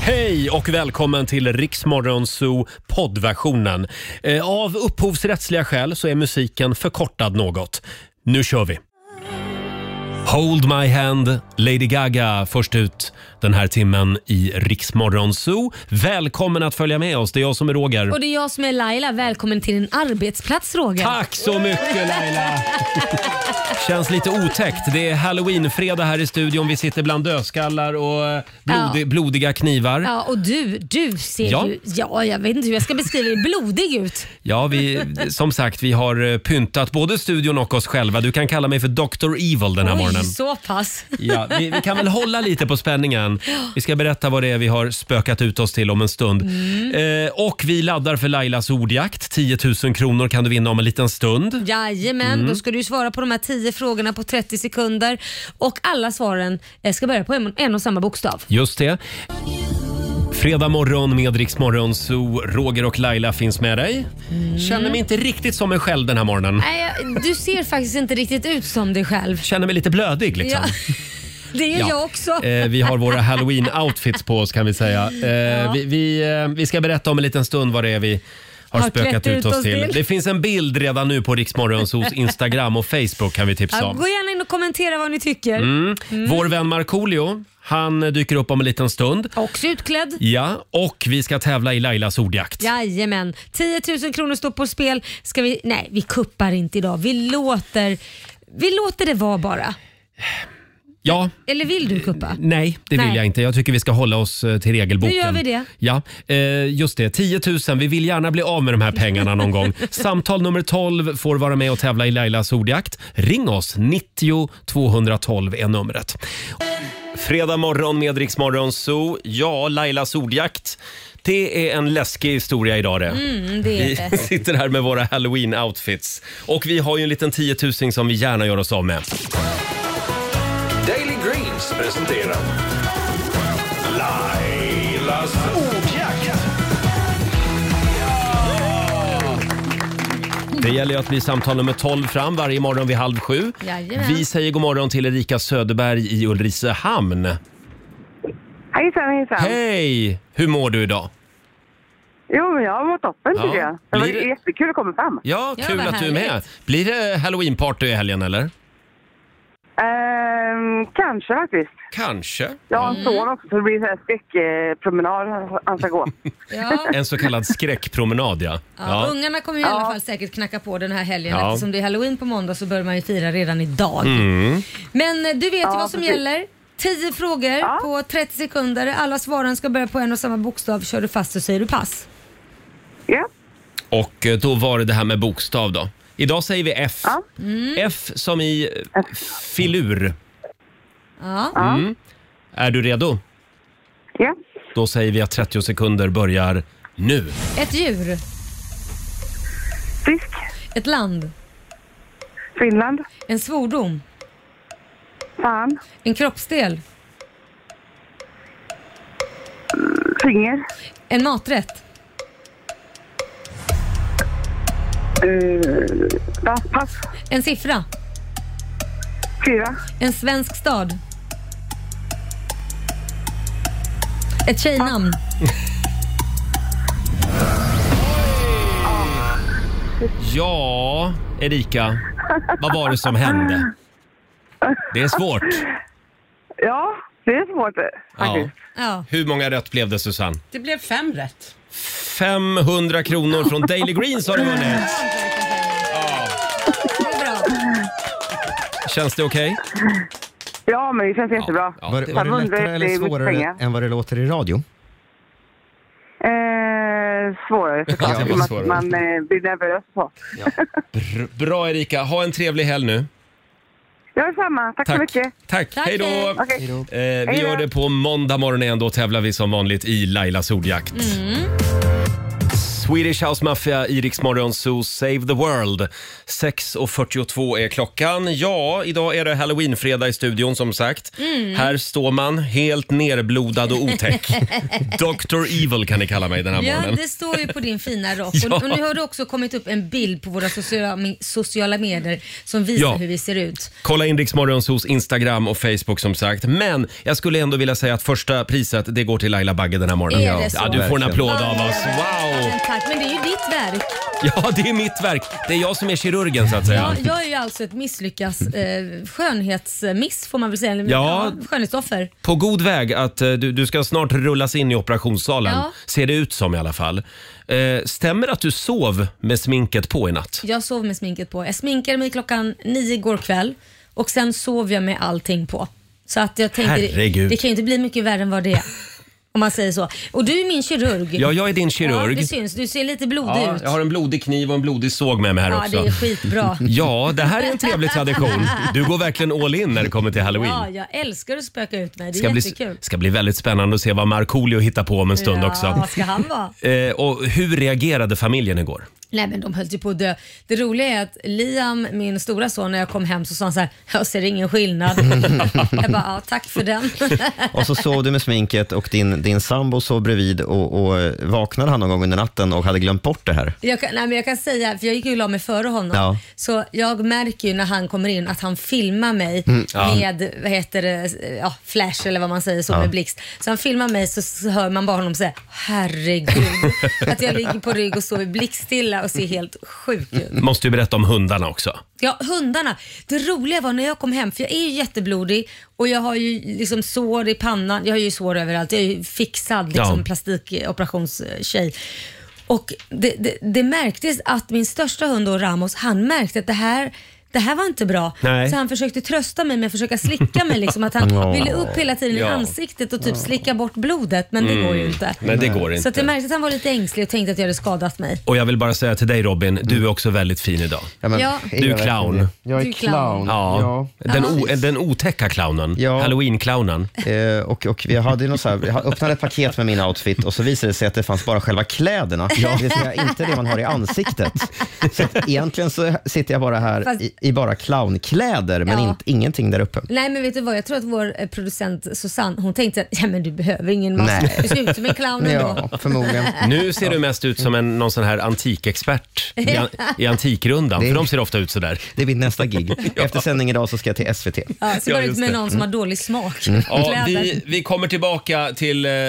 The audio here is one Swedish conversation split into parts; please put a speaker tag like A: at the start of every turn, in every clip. A: Hej och välkommen till Riksmorgon Zoo poddversionen. Eh, Av upphovsrättsliga skäl så är musiken förkortad något. Nu kör vi! Hold My Hand, Lady Gaga först ut den här timmen i Riksmorgon Zoo. Välkommen att följa med oss, det är jag som är Roger.
B: Och det är jag som är Laila. Välkommen till din arbetsplats Roger.
A: Tack så mycket Laila! Känns lite otäckt. Det är halloween-fredag här i studion. Vi sitter bland dödskallar och eh, blodi-
B: Ja.
A: blodiga knivar.
B: Ja, och du, du ser
A: Ja.
B: ju... Ja, jag vet inte hur jag ska beskriva det. Blodig ut.
A: Ja, vi, som sagt, vi har eh, pyntat både studion och oss själva. Du kan kalla mig för Dr. Evil den här morgonen.
B: Oj, så pass.
A: Ja, vi, vi kan väl hålla lite på spänningen. Vi ska berätta vad det är vi har spökat ut oss till om en stund.
B: Mm.
A: Eh, och vi laddar för Lailas ordjakt. 10 000 kronor kan du vinna om en liten stund.
B: Jajamän,
A: Mm.
B: då ska du ju svara på de här 10 frågorna på 30 sekunder. Och alla svaren eh, ska börja på en, en och samma bokstav.
A: Just det. Fredag morgon med Rix Morgon Zoo. Roger och Laila finns med dig.
B: Mm.
A: Känner mig inte riktigt som mig själv den här morgonen.
B: Nej, jag- du ser faktiskt inte riktigt ut som dig själv.
A: Känner mig lite blödig liksom.
B: Ja, det gör
A: Ja.
B: jag också.
A: Eh, vi har våra halloween-outfits på oss kan vi säga. Eh, vi, vi, eh, vi ska berätta om en liten stund vad det är vi har,
B: Har
A: spökat
B: klätt
A: ut oss till. Det finns en bild redan nu på Riksmorgonsos Instagram och Facebook kan vi tipsa
B: Ja,
A: om.
B: gå gärna in och kommentera vad ni tycker.
A: Mm. Vår vän Markoolio, han dyker upp om en liten stund.
B: Också utklädd.
A: Ja, och vi ska tävla i Lailas ordjakt.
B: Jajamän. 10 000 kronor står på spel. Ska vi... Nej, vi kuppar inte idag. Vi låter, vi låter det vara bara.
A: Ja,
B: Eller vill du kuppa?
A: nej, det vill
B: Nej.
A: jag inte. Jag tycker vi ska hålla oss eh, till regelboken.
B: Nu gör vi det.
A: Ja, eh, just det. 10 000. Vi vill gärna bli av med de här pengarna någon gång. Samtal nummer 12 får vara med och tävla i Lailas ordjakt. Ring oss. 90 212 är numret. Fredag morgon med Rix Morgon Zoo. Ja, Lailas ordjakt. Det är en läskig historia idag det.
B: Mm, det är det.
A: Vi sitter här med våra halloween-outfits. Och vi har ju en liten 10 000 som vi gärna gör oss av med.
C: Daily Greens presenterar Lailas ordjakt.
A: Det gäller ju att bli samtal nummer 12 fram varje morgon vid halv sju.
B: Jajamän.
A: Vi säger god morgon till Erika Söderberg i Ulricehamn.
D: Hejsan, hejsan.
A: Hej! Hur mår du idag?
D: Jo, men jag mår toppen
A: Ja.
D: tycker jag. Det var
A: Blir det-
D: jättekul att komma fram.
A: Ja,
B: Ja,
A: kul
B: vad
A: att du är med.
B: härligt.
A: Blir det halloweenparty i helgen eller?
D: Ehm, kanske faktiskt.
A: Kanske.
D: Jag har en son också så det blir så här skräckpromenad han ska gå.
B: Ja.
A: En så kallad skräckpromenad ja.
B: Ja,
A: ja.
B: ungarna kommer i alla fall säkert knacka på den här helgen.
A: Ja.
B: Eftersom det är halloween på måndag så bör man ju fira redan idag.
A: Mm.
B: Men eh, du vet ju vad som
D: precis.
B: gäller. 10 frågor på 30 sekunder. Alla svaren ska börja på en och samma bokstav. Kör du fast så säger du pass.
D: Ja,
A: Och eh, då var det det här med bokstav då. Idag säger vi F. Mm.
D: Ja.
A: F som i eh, filur.
B: Ja.
A: Är du redo?
D: ja.
A: Då säger vi att 30 sekunder börjar nu.
B: Ett djur.
D: Fisk,
B: Ett land.
D: Finland,
B: En svordom.
D: fan,
B: En kroppsdel.
D: finger,
B: En maträtt.
D: uh, pass, pass,
B: En siffra.
D: fyra,
B: En svensk stad. Ett tjejnamn.
A: Ja, Erika. Vad var det som hände? Det är svårt.
D: ja. Det är svårt eh,
A: Ja.
D: faktiskt.
B: Ja.
A: Hur många rätt blev det Susanne?
E: Det blev fem rätt.
A: 500 kronor från Daily Greens har du vunnit.
B: Det är bra.
A: Känns det okej?
D: Ja, men det känns jättebra.
A: Ja,
F: Var,
A: det-
F: var det
D: Vad
F: lättare
D: undrar
F: eller
D: det är mycket
F: svårare
D: pengar.
F: än vad det låter i radio?
D: Eh, svårare såklart.
A: Ja, det var
D: I och med att
A: svårare.
D: Man eh, blir nervös så.
A: Br- Bra Erika, ha en trevlig helg nu.
D: Jag är samma. Tack, så mycket.
A: Tack,
B: Tack,
A: hej då.
B: hej.
A: Eh,
D: Okej.
F: Hejdå.
A: vi
D: Hej då.
A: gör
B: Mm.
A: det på måndag morgon igen. Då tävlar vi som vanligt i Lailas ordjakt. Swedish House Mafia i Rix Morgon Zoo Save the World. 6.42 är klockan. Ja, idag är det halloweenfredag i studion som sagt.
B: Mm.
A: Här står man helt nerblodad och otäck. Dr. Evil kan ni kalla mig den här
B: Ja,
A: morgonen.
B: det står ju på din fina rock.
A: Ja.
B: Och, och nu har det också kommit upp en bild på våra sociala, me- sociala medier som visar
A: Ja.
B: hur vi ser ut.
A: Kolla in Rix Morgon Zoos Instagram och Facebook som sagt. Men jag skulle ändå vilja säga att första priset det går till Laila Bagge den här morgonen.
B: Är det så?
A: Ja, du får en applåd av
B: Ja,
A: oss. Wow!
B: Men tack, men det är ju ditt verk.
A: Ja, det är mitt verk. Det är jag som är kirurgen så att säga.
B: Ja, jag är ju alltså ett misslyckas eh, skönhetsmiss får man väl säga. Eller,
A: Ja.
B: skönhetsoffer.
A: På god väg att eh, du, du ska snart rullas in i operationssalen,
B: Ja.
A: ser det ut som i alla fall. Eh, stämmer att du sov med sminket på i natt?
B: Jag sov med sminket på. Jag sminkade mig klockan nio igår kväll och sen sov jag med allting på. Så att jag tänkte, det,
A: Herregud.
B: det kan ju inte bli mycket värre än vad det är. Om man säger så. Och du är min kirurg.
A: Ja, jag är din kirurg.
B: Ja, det syns. Du ser lite blodig
A: Ja,
B: ut.
A: jag har en blodig kniv och en blodig såg med mig här
B: ja,
A: också.
B: det är skitbra.
A: Ja, det här är en trevlig tradition. Du går verkligen all in när det kommer till halloween.
B: Ja, jag älskar att spöka ut mig. Det är
A: ska, bli,
B: jättekul.
A: ska bli väldigt spännande att se vad Markoolio hittar på om en stund
B: ja,
A: också.
B: Vad ska han vara?
A: Eh, och hur reagerade familjen igår?
B: Nej men de höll ju på att dö. Det roliga är att Liam, min stora son, när jag kom hem så sa han så här, jag ser ingen skillnad. jag bara, ja, tack för den.
E: Och så sov du med sminket och din, din sambo sov bredvid och, och vaknade han någon gång under natten och hade glömt bort det här.
B: jag, kan, nej, men jag kan säga, för jag gick ju och la mig före honom,
E: Ja.
B: så jag märker ju när han kommer in att han filmar mig med, vad heter det, ja, flash eller vad man säger så med blixt. Så han filmar mig så s- hör man bara honom säga, herregud. att jag ligger på rygg och sover blickstilla och ser helt sjuk ut.
A: Måste ju berätta om hundarna också.
B: Ja, hundarna. Det roliga var när jag kom hem, för jag är ju jätteblodig och jag har ju liksom sår i pannan. Jag har ju sår överallt. Jag är ju fixad liksom,
A: Ja.
B: plastikooperationstjej. Och det, det, det märktes att min största hund då, Ramos, han märkte att det här det här var inte bra.
A: Nej.
B: Så han försökte trösta mig med att försöka slicka mig. Liksom, att han
E: Ja.
B: ville upp hela tiden
A: Ja. Mm.
B: i ansiktet och typ slicka bort blodet. Men det går ju inte.
A: Nej, det går
B: Så
A: inte.
B: att jag märkte att han var lite ängslig och tänkte att jag hade skadat mig.
A: Och jag vill bara säga till dig Robin,
E: Mm.
A: du är också väldigt fin idag.
E: men,
B: Ja.
E: är
A: Du är
E: jag verkligen
A: clown.
E: det? Jag
B: Du är
E: är
B: clown.
E: clown.
A: Ja. Den, o,
E: precis.
A: den otäcka clownen.
E: Ja.
A: Halloween-clownen.
E: Eh, och, och vi hade ju något så här, jag öppnade ett paket med min outfit och så visade det sig att det fanns bara själva kläderna, det vill säga inte det man har i ansiktet. Så att egentligen så sitter jag bara här
B: Fast-
E: i, i bara clownkläder, men
B: Ja.
E: inte, ingenting där uppe.
B: Nej men vet du vad, jag tror att vår eh, producent Susanne, hon tänkte att ja, men du behöver ingen mask.
E: Nej.
B: Du ser ut som en clown ändå.
E: Ja, förmodligen.
A: Nu ser du mest ut som en, någon sån här antikexpert i, an, i Antikrundan,
E: Det-
A: för de ser ofta ut sådär.
E: Det är mitt nästa gig. Efter sändning idag så ska jag till SVT.
B: Ja, så
A: Ja,
B: går det ut
A: just
B: med
A: det. Mm.
B: någon som har dålig smak.
E: Mm.
A: Ja,
B: Kläder.
A: vi, vi kommer tillbaka till eh, eh,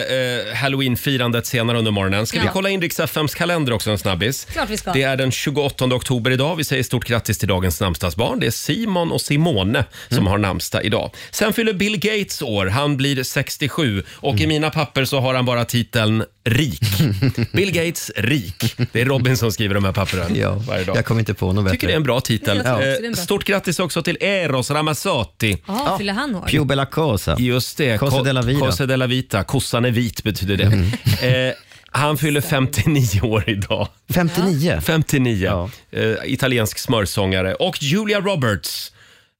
A: halloweenfirandet senare under morgonen. Ska vi
B: Ja.
A: kolla in Rix FMs kalender också en snabbis?
B: Klart vi ska.
A: Det är den 28 oktober idag. Vi säger stort grattis till dagens namnsdagsbarn. Det är Simon och Simone som
E: Mm.
A: har namnsdag idag. Sen fyller Bill Gates år. Han blir 67 och
E: Mm.
A: i mina papper så har han bara titeln rik. Bill Gates rik. Det är Robin som skriver de här papperen
E: Ja,
A: varje dag.
E: jag kommer inte på något
A: Jag tycker det är
E: bättre.
A: en bra titel.
B: Jag tycker också det är en
A: Eh,
B: bra
A: Stort grattis också till Eros Ramazzotti.
B: Ja, fyller han år?
E: Pio Bella Cosa.
A: Just det.
E: Cosa
A: Ko-
E: della Vida. Mm.
A: Cosa della Vita. Kossan är vit betyder det. Eh, han fyller 59 år idag.
E: 59.
A: 59.
E: Ja.
A: Eh, italiensk smörsångare. Och Julia Roberts.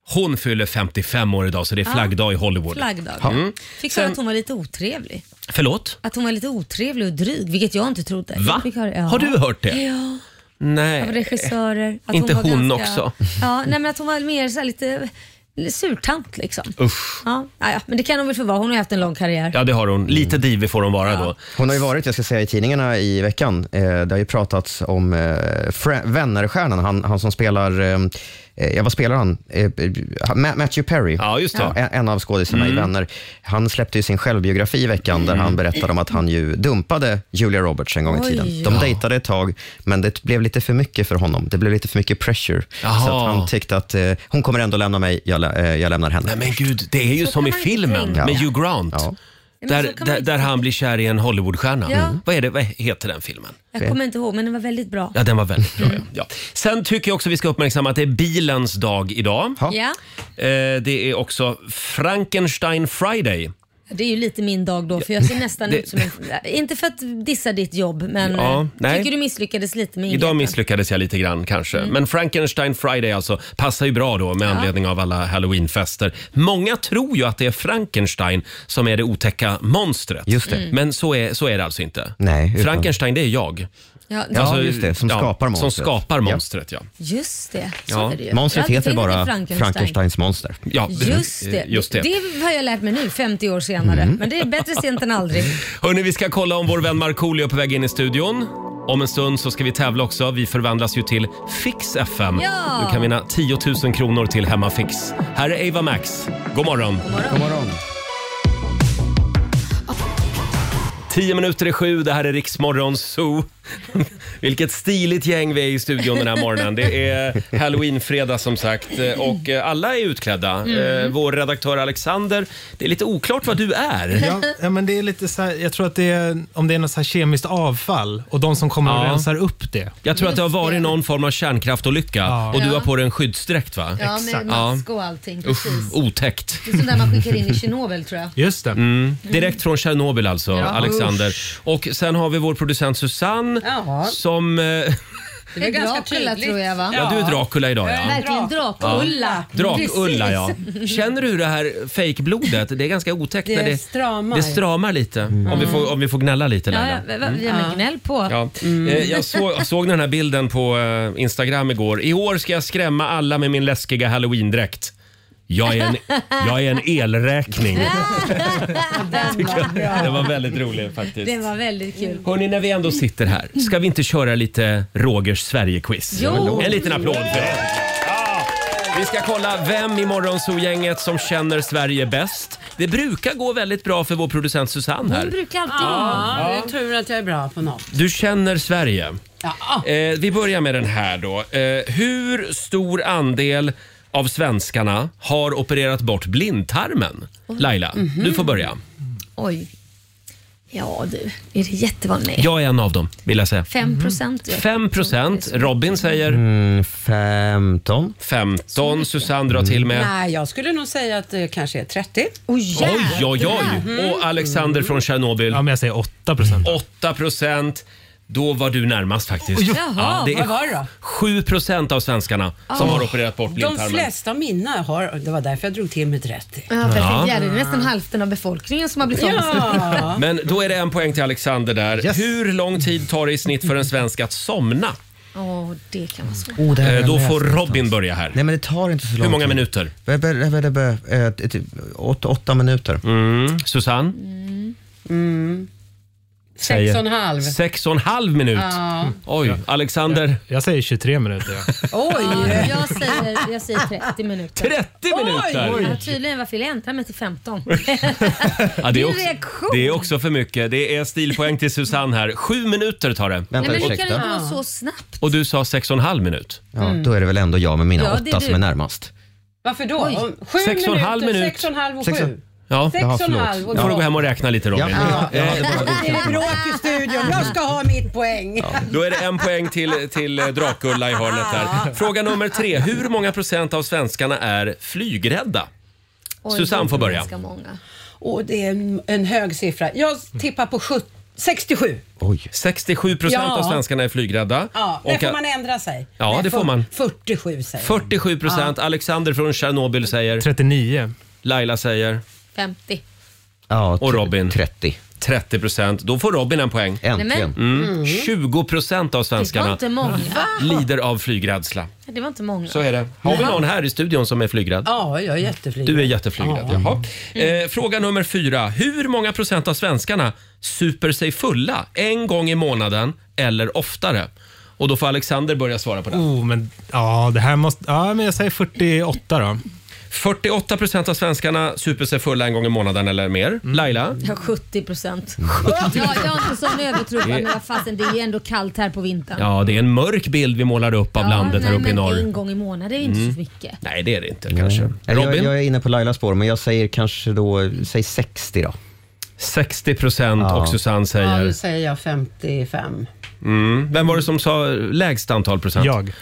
A: Hon fyller 55 år idag
B: Ah.
A: så det är flaggdag i Hollywood.
B: Flaggdag.
A: Mm.
B: Fick höra att hon var lite otrevlig.
A: Förlåt?
B: Att hon var lite otrevlig och dryg, vilket jag inte trodde.
A: Va?
B: Jag Fick höra, ja.
A: Har du hört det?
B: Ja, av
A: Nej.
B: regissörer. Att
A: Inte
B: var
A: hon också?
B: Ja, nej men att hon var mer så här lite lite surtant liksom.
A: Usch.
B: Ja, ja, ja, men det kan hon väl få vara. Hon har ju haft en lång karriär.
A: Ja, det har hon.
E: Mm.
A: Lite divig får hon vara då.
E: Hon har ju varit, jag ska säga, i tidningarna i veckan. Eh, det har ju pratats om eh, Fra- Vännerstjärnan, han, han som spelar, eh, eh, ja vad spelar han? Eh, Ma- Matthew Perry.
A: Ja, just det. Mm.
E: En, en av skådisarna i Vänner. Han släppte ju sin självbiografi i veckan där han berättade om att han ju dumpade Julia Roberts en gång
B: Oj.
E: i tiden. De dejtade ett tag, men det blev lite för mycket för honom. Det blev lite för mycket pressure.
A: Jaha.
E: Så att han tyckte att eh, hon kommer ändå lämna mig, jag, lä- eh, jag lämnar henne.
A: Nej men gud, det är ju
B: Så
A: som
B: kan
A: i
B: man inte
A: filmen
B: tänka.
A: med Hugh Grant.
E: Ja.
B: men så
A: Där,
B: kan man
A: där,
B: inte
A: där han blir kär i en Hollywoodstjärna.
B: Ja.
A: Vad, är det, vad heter den filmen?
B: Jag kommer inte ihåg, men den var väldigt bra.
A: Ja, den var väldigt
E: Mm.
A: bra. Ja. Ja. Sen tycker jag också vi ska uppmärksamma att det är bilens dag idag.
E: Ja.
B: Ja,
A: Eh, det är också Frankenstein Friday.
B: det är ju lite min dag då för jag ser nästan
A: det-
B: ut som en... Inte för att dissa ditt jobb men
A: Ja,
B: eh,
A: nej.
B: tycker du misslyckades lite med
A: Idag
B: ingreppen.
A: misslyckades jag lite grann kanske.
E: Mm.
A: Men Frankenstein Friday alltså passar ju bra då med anledning av alla halloweenfester. Många tror ju att det är Frankenstein som är det otäcka monstret.
E: Just det.
A: Men så är, så är det alltså inte.
E: Nej, utan-
A: Frankenstein det är jag. Alltså,
B: Ja,
E: Ja, just det. Som skapar
A: Som
E: monstret.
A: skapar
E: Ja.
A: monstret, ja.
B: Just det, så
A: Ja.
B: är det ju.
E: Monstret
B: Ja, det
E: heter
B: finns
E: bara
B: en
E: Frankensteins monster.
A: ja.
B: Just det.
A: Just det.
B: har jag lärt mig nu, 50 år senare.
E: Mm.
B: Men det är bättre sent än aldrig.
A: Hörni, vi ska kolla om vår vän Markoolio är på väg in i studion. Om en stund så ska vi tävla också. Vi förvandlas ju till Fix FM.
B: Ja!
A: Du kan vinna 10 000 kronor till Hemmafix. Här är Ava Max. God morgon!
E: God morgon.
A: 10 minuter i sju, det här är Riksmorgon Zoo. Vilket stiligt gäng vi är i studion den här morgonen. Det är halloweenfredag som sagt eh, och eh, alla är utklädda. Eh, Vår redaktör Alexander, det är lite oklart vad du är.
F: Ja, ja, men det är lite så här, jag tror att det är, om det är något så här kemiskt avfall och de som kommer och
A: Ja.
F: rensar upp det.
A: Jag tror att det har varit någon form av kärnkraftolycka
F: Ja.
A: och du
B: Ja.
A: har på dig en skyddsdräkt va?
B: Ja, med
F: Exakt.
B: mask och allting.
A: Usch, Oh.
B: Precis.
A: otäckt.
B: Det är sånt där man skickar in i Tjernobyl tror jag.
F: Just det.
A: Mm. Direkt från Tjernobyl alltså, Alexander. Och sen har vi vår producent Susanne
G: Ja.
A: som... eh,
B: Det är ganska tydligt. tror jag va?
A: Ja, du är Dracula idag ja.
B: Verkligen Drak-Ulla.
A: Drak-Ulla ja.
B: Precis.
A: Känner du det här fejkblodet? Det är ganska otäckt
G: Det
A: när det
G: stramar.
A: Det stramar lite. Om, vi får, om vi får gnälla lite
B: Ja,
A: Laila.
B: ja, va- va- ja, men gnäll på.
A: Ja. Eh, Jag så, såg den här bilden på eh, Instagram igår. I år ska jag skrämma alla med min läskiga halloween-dräkt. Jag är, en, jag är en elräkning. Det var väldigt roligt faktiskt.
B: Det var väldigt kul.
A: Hörni, när vi ändå sitter här, ska vi inte köra lite Rogers Sverige-quiz?
B: Jo.
A: En liten applåd för det. Ja. Vi ska kolla vem i Morgonzoo-gänget som känner Sverige bäst. Det brukar gå väldigt bra för vår producent Susanne
B: Hon
A: här.
B: brukar alltid
G: Ja, det är tur att jag är bra på något.
A: Du känner Sverige.
G: Ja.
A: Eh, vi börjar med den här då. Eh, hur stor andel av svenskarna har opererat bort blindtarmen? Laila,
G: Mhm.
A: du får börja.
B: Oj. Ja du, är det jättevanligt? Nej.
A: Jag är en av dem, vill jag säga.
B: 5 procent.
A: 5 procent. Robin säger
E: Mm, 15.
A: 15. Susanne drar till med.
G: Nej, jag skulle nog säga att det kanske är 30.
B: Oj,
A: Oj, oj, oj!
G: Mm.
A: Och Alexander från Tjernobyl.
F: Ja, men jag säger 8 procent.
A: 8 procent. Då var du närmast faktiskt.
B: Jaha,
A: det
G: Vad
A: är
G: var det då?
A: 7 procent av svenskarna som har opererat bort
G: De
A: blindtarmen.
G: flesta av mina har, det var därför jag drog till med 30.
B: Ja, perfekt. Ja. Det är nästan hälften av befolkningen som har blivit omskuren.
G: Ja.
A: Men då är det en poäng till Alexander där.
F: Yes.
A: Hur lång tid tar det i snitt för en svensk att somna?
B: Åh, det kan vara svårt.
E: Oh, det här har
A: Eh,
E: jag
A: Då
E: läst
A: får
E: någonstans.
A: Robin börja här.
E: Nej, men det tar inte så lång
A: Hur många
E: tid.
A: minuter?
E: Be- be- be- be- be- eh, t- t- Åtta, åtta minuter.
A: Mm. Susanne?
G: Sex och en halv.
A: Sex och en halv minut.
G: Ja.
A: Oj, Alexander?
F: Jag säger 23 minuter. ja.
B: Ja,
G: Oj!
B: jag, säger, jag säger 30 minuter.
A: 30 minuter!
B: Ja, tydligen varför jag ändrade mig till 15.
A: Ja, det, är
B: Din
A: också,
B: reaktion.
A: det är också för mycket. Det är stilpoäng till Susanne här. Sju minuter tar det.
E: Vänta,
B: Nej, men hur kan
E: ursäkta.
B: det gå så snabbt?
A: Och du sa sex och en halv minut.
E: Ja, då är det väl ändå jag med mina
B: Ja, det är
E: åtta
B: du.
E: som är närmast.
G: Varför då? Om Sju
A: Sex och en
G: minuter,
A: halv minut.
G: sex och en halv och
E: Sex och-
G: sju.
A: Ja,
G: Sex
E: Jaha,
G: och en
E: förlåt.
G: halv och
A: då får du gå
G: då.
A: hem och räkna lite Robin. Eh,
E: Ja, jag hade bara
G: Det är bråk i studion. Jag ska ha mitt poäng.
A: Då är det en poäng till, till eh, Drakulla i hörnet där. Fråga nummer tre. Hur många procent av svenskarna är flygrädda?
B: Oj,
A: Susanne
B: det är
A: får börja.
B: ganska många.
G: Och det är en, en hög siffra. Jag tippar på 70, 67.
A: 67 procent
G: Ja.
A: av svenskarna är flygrädda.
G: Ja, där
A: Och,
G: får man ändra sig.
A: Ja,
G: Nej,
A: det får
G: fyr-
A: man.
G: 47 säger jag.
A: 47 procent. Alexander från Tjernobyl säger,
F: 39.
A: Laila säger
B: 50.
E: Ja,
A: Och Robin.
E: 30.
A: 30 procent. Då får Robin en poäng.
B: Nej,
E: Äntligen.
B: men-
A: 20 procent av
B: Mm. Det var
A: svenskarna
B: inte många.
A: lider av flygrädsla.
B: Det var inte många.
A: Så är det. Har vi någon här i studion som är flygrädd?
G: Ja, jag är jätteflink.
A: Du är jätteflygrädd. Jaha. Eh, fråga nummer fyra. Hur många procent av svenskarna super sig fulla en gång i månaden eller oftare? Och då får Alexander börja svara på
B: Mm.
A: den.
F: Oh, men ja, det här måste... Ja, men jag säger 48 då.
A: 48 procent av svenskarna super sig fulla en gång i månaden eller mer.
B: Mm.
A: Laila?
B: Ja, 70 procent. Ja, jag är inte sån övertro, men vad fasen, det är ju ändå kallt här på vintern.
A: Ja, det är en mörk bild vi målar upp av
B: Mm. Ja,
A: landet här
B: nej,
A: uppe i
B: men
A: norr. Mm.
B: En gång i månaden är ju inte så mycket.
A: Nej, det är det inte kanske.
E: Eller Jag,
A: Robin?
E: jag är inne på Lailas spår, men jag säger kanske då, säg 60 då.
A: 60 procent och Susanne
G: Ja,
A: säger...
G: nu säger jag 55.
A: Mm. Vem var det som sa lägst antal procent?
F: Jag.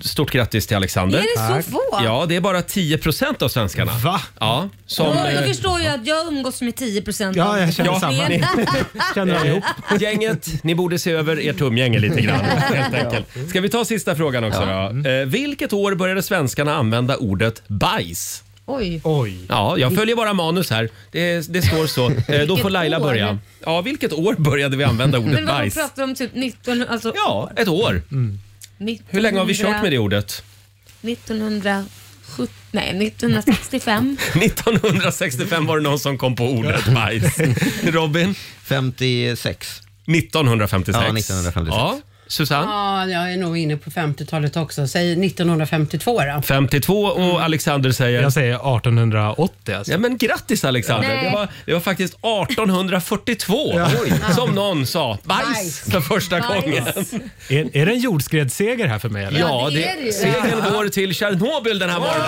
A: Stort grattis till Alexander.
B: Är det så få?
A: Ja, det är bara 10 procent av svenskarna.
F: Va?
A: Ja, som...
B: Då, då
A: eh,
B: förstår jag att jag umgås med 10 procent.
F: Ja, jag känner samma. Känner jag ihop.
A: Gänget, ni borde se över er tumgänge lite grann. Helt enkelt. Ska vi ta sista frågan också då? Eh, vilket år började svenskarna använda ordet bajs?
B: Oj.
F: Oj.
A: Ja, jag följer bara manus här. Det, det står så. Eh, Då får
B: Vilket
A: Laila
B: år?
A: börja. Ja, vilket år började vi använda ordet
B: Men vad
A: bajs?
B: pratar Mm. vi om? Typ 19... Alltså,
A: Ja, ett år. Hur länge har vi kört med det ordet?
B: 1970... Nej, 1965.
A: 1965 var det någon som kom på ordet bajs. Robin?
E: 56.
A: 1956.
E: Ja, 1956.
A: Ja. Susanne?
G: Ja, jag är nog inne på 50-talet också. Säg 1952 då.
A: 52 och Alexander säger?
F: Jag säger 1880 alltså.
A: Ja, men grattis Alexander!
B: Nej.
A: Det var, det var faktiskt 1842 som någon sa bajs
G: Bajs.
A: för första
B: Bajs.
A: gången.
F: Är, är det en jordskredsseger här för mig eller?
A: Ja,
B: Ja, det
A: det,
B: är det ju.
A: segern går till Tjernobyl den här morgonen.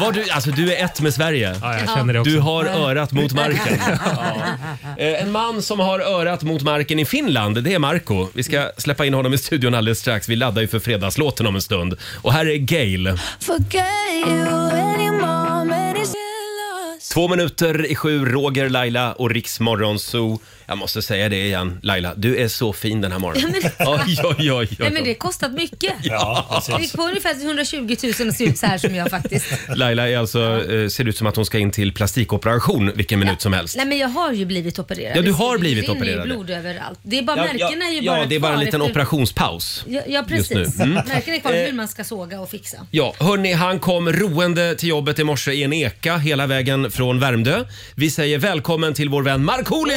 A: Var du, alltså du är ett med Sverige.
F: Ja, jag känner det också.
A: Du har örat mot marken. Ja. Eh, En man som har örat mot marken i Finland, det är Marco. Vi ska släppa in honom i studion alldeles strax. Vi laddar ju för fredagslåten om en stund. Och här är Gail. Två minuter i sju, Roger, Laila och Riksmorgon Zoo. Jag måste säga det igen, Laila. Du är så fin den här morgonen. Oj, oj, oj.
B: Nej,
A: oj,
B: men det
A: oj.
B: har kostat mycket. Jag gick på ungefär 120 000 och ser ut så här som jag faktiskt.
A: Laila är alltså, eh, ser ut som att hon ska in till plastikoperation vilken minut som helst.
B: Nej men jag har ju blivit opererad.
A: Ja, du har
B: Det
A: blivit
B: rinner ju
A: opererad.
B: blod överallt. Det är bara
A: Ja, ja,
B: märkena är ju bara
A: ja, det är bara en
B: kvar
A: liten
B: efter-
A: operationspaus.
B: Ja, ja
A: just
B: precis.
A: nu. Mm.
B: Märkena är kvar hur man ska såga och fixa.
A: Ja, hörni, han kom roende till jobbet i morse i en eka hela vägen från Värmdö. Vi säger välkommen till vår vän Markoolio!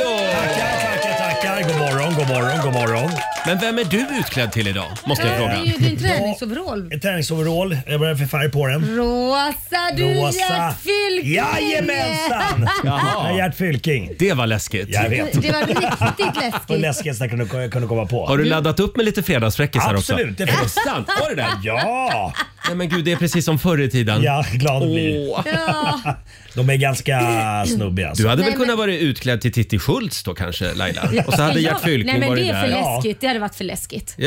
H: Tackar, tackar, tackar. God morgon, god morgon, god morgon.
A: Men vem är du utklädd till idag? Måste jag
B: Eh, Det är
A: fråga.
B: ju din träningsoverall.
H: En träningsoverall. Jag börjar få färg på den.
B: Rosa, du är Gert Fylking!
H: Jajamensan! Jag är Gert Fylking.
A: Det var läskigt.
H: Jag vet.
B: Det var riktigt
H: Det var
B: läskigt.
H: läskigaste jag kunde, jag kunde komma
A: Har
H: på.
A: du laddat upp med lite fredagsfräckisar också?
H: Absolut, det
A: Är det
H: finns.
A: sant? Var det det?
H: Ja!
A: Nej men gud, det är precis som förr i tiden.
H: Ja, glad oh. blir.
A: Åh.
B: Ja,
H: De är ganska snubbiga.
A: Du
H: Alltså.
A: hade
B: Nej,
A: väl kunnat
B: men-
A: vara utklädd till Titti Schultz då kanske Laila? Och så hade
B: men
A: Gert
B: jag-
A: Fylking
B: Nej men
A: varit
B: det är för
A: där.
H: Ja.
B: läskigt. Det hade varit för läskigt.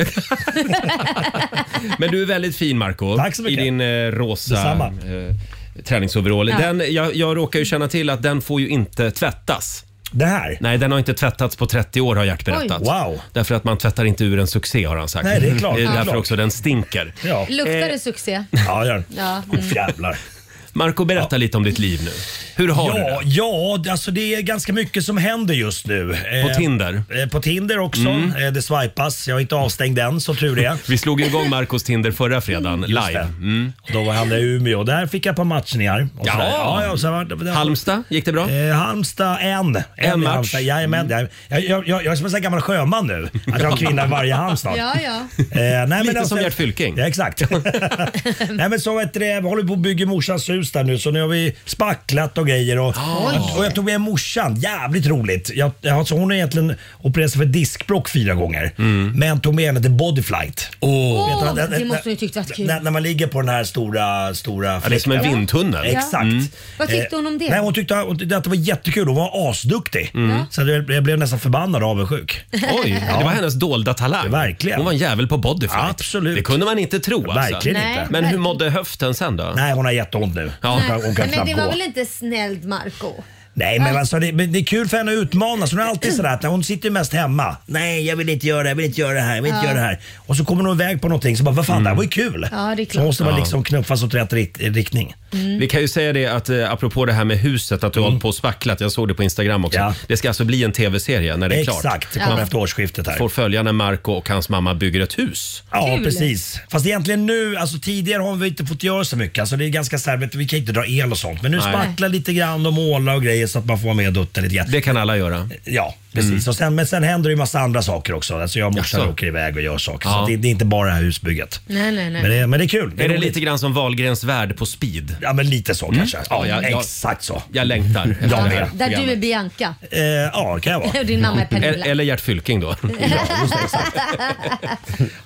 A: Men du är väldigt fin Marco
H: Tack så
A: i
H: mycket.
A: din eh, rosa
H: Detsamma.
A: eh, träningsoverall. Den, jag, jag råkar ju känna till att den får ju inte tvättas.
H: Det här?
A: Nej, den har inte tvättats på 30 år har Gert berättat.
H: Oj. Wow.
A: Därför att man tvättar inte ur en succé har han sagt.
H: Nej, det är klart,
A: Det är
H: det är
A: därför
H: klart.
A: också den stinker.
H: Ja,
B: Luktar det succé?
H: ja gör den.
B: Ja,
H: Oh, jävlar.
A: Marco berätta lite om ditt liv nu. Hur har du det?
H: Ja, ja, alltså det är ganska mycket som händer just nu.
A: På Tinder? Mm.
H: Eh, på Tinder också. Eh, det swipas. Jag är inte avstängd än, så tur det.
A: Vi slog ju igång Marcos Tinder förra fredagen live.
H: Mm. Då var han i Umeå. Där fick jag ett par matchningar. Och
A: Jaha.
H: sådär. ja, ja, och sen var det, det,
A: Halmstad, gick det bra?
H: Eh, Halmstad, en. En, i
A: match. Mm.
H: Halmstad. Jajamän, jajamän. jag, jag, jag, jag är som en sån här gammal sjöman nu. Att jag har en kvinna i varje Halmstad.
B: ja, ja.
H: Eh, nej, men
A: Lite som Gert Fylking.
H: Ja, exakt. nej, men så vet du, det, vi håller på att bygga morsans hus där nu så nu har vi spacklat och grejer. Och,
A: Ah.
H: och jag tog med morsan, jävligt roligt. Jag, jag- alltså, hon har egentligen opererat sig för diskbråck fyra gånger. Men tog med henne till bodyflight.
A: Mm. Åh,
H: Vet du
B: Åh,
H: vad,
B: det måste hon ju tyckt varit kul.
H: När, när man ligger på den här stora, stora
A: ja, det är som en
H: fläkten.
A: vindtunnel. Mm.
B: Ja.
H: Exakt.
B: Vad tyckte
H: Eh,
B: hon om det?
H: Nej, hon tyckte hon tyckte att det var jättekul. Hon var asduktig.
A: Mm.
H: Så jag, jag blev nästan förbannad och avundsjuk.
A: Oj, det var hennes dolda talang.
H: Verkligen.
A: Hon var en jävel på bodyflight.
H: Absolut.
A: Det kunde man inte tro alltså.
H: Verkligen
B: Nej.
H: inte.
A: Men hur mådde höften sen då?
H: Nej, hon har jätteont nu. Hon kan, hon kan
B: Men
H: knappt
B: det var
H: gå.
B: väl inte snällt Marco?
H: Nej, men alltså, det, men det är kul för henne att utmanas. Hon är alltid sådär att hon sitter mest hemma. Nej, jag vill inte göra det, jag vill inte göra det här, jag vill inte göra det här. Och så kommer hon iväg på någonting så bara, vad fan,
A: Mm.
H: det här var ju kul.
B: Ja, det är
H: så
B: klart.
H: måste man liksom knuffas åt rätt rikt- riktning.
A: Vi kan ju säga det att eh, apropå det här med huset, att du har hållit på och spacklat. Jag såg det på Instagram också.
H: Mm. Ja.
A: Det ska alltså bli en tv-serie när det är klart.
H: Exakt, det kommer efter årsskiftet här.
A: Får följa när Marco och hans mamma bygger ett hus.
H: Ja,
B: Kul.
H: precis. Fast egentligen nu, alltså tidigare har vi inte fått göra så mycket. Alltså det är ganska så här, vet du, vi kan inte dra el och sånt. Men nu spackla lite grann och måla och grejer så att man får vara med och dutta lite grann.
A: Det kan alla göra.
H: Ja, precis. Och sen, men sen händer det ju massa andra saker också. Alltså jag och morsan
A: Jaså?
H: åker iväg och gör saker.
A: Ja.
H: Så det, det är inte bara det här husbygget.
B: Nej, nej, nej.
H: Men det, men det är kul.
A: Är det
H: roligt.
A: lite grann som Wahlgrens värld på speed?
H: Ja, men lite så kanske.
A: Ja, ja, ja.
H: Exakt så.
A: Jag längtar efter det här
H: med.
B: Där du är
A: programmet.
B: Bianca
H: Eh, ja, det kan jag vara.
B: och din mamma är
A: Eller-
B: Pernilla.
A: Eller Gert Fylking då.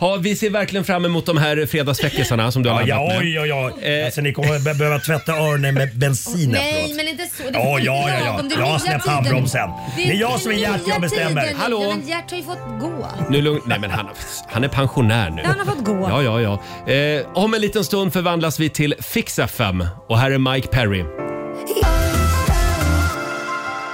A: ja, vi ser verkligen fram emot de här fredagsfräckisarna som du har
H: Ja,
A: laddat
H: ja,
A: med.
H: oj, oj, oj. Alltså, ni kommer be- behöva tvätta öronen med bensin
B: Nej,
H: efteråt.
B: men inte så. Det
H: Ja,
B: får inte
H: ja,
B: vara
H: ja, ja.
B: lagom. Det är
H: Jag har
B: nya
H: släppt
B: tiden.
H: handbromsen. Det är jag som är
B: den
H: Gert, jag
B: nya
H: bestämmer.
B: tiden.
A: Hallå?
B: Ja, men Gert har ju fått gå.
A: Nu lugn... Nej, men han, han är pensionär nu.
B: Ja, han har fått gå.
A: Ja, ja, ja. Eh, om en liten stund förvandlas vi till Fix FM och här är Mike Perry.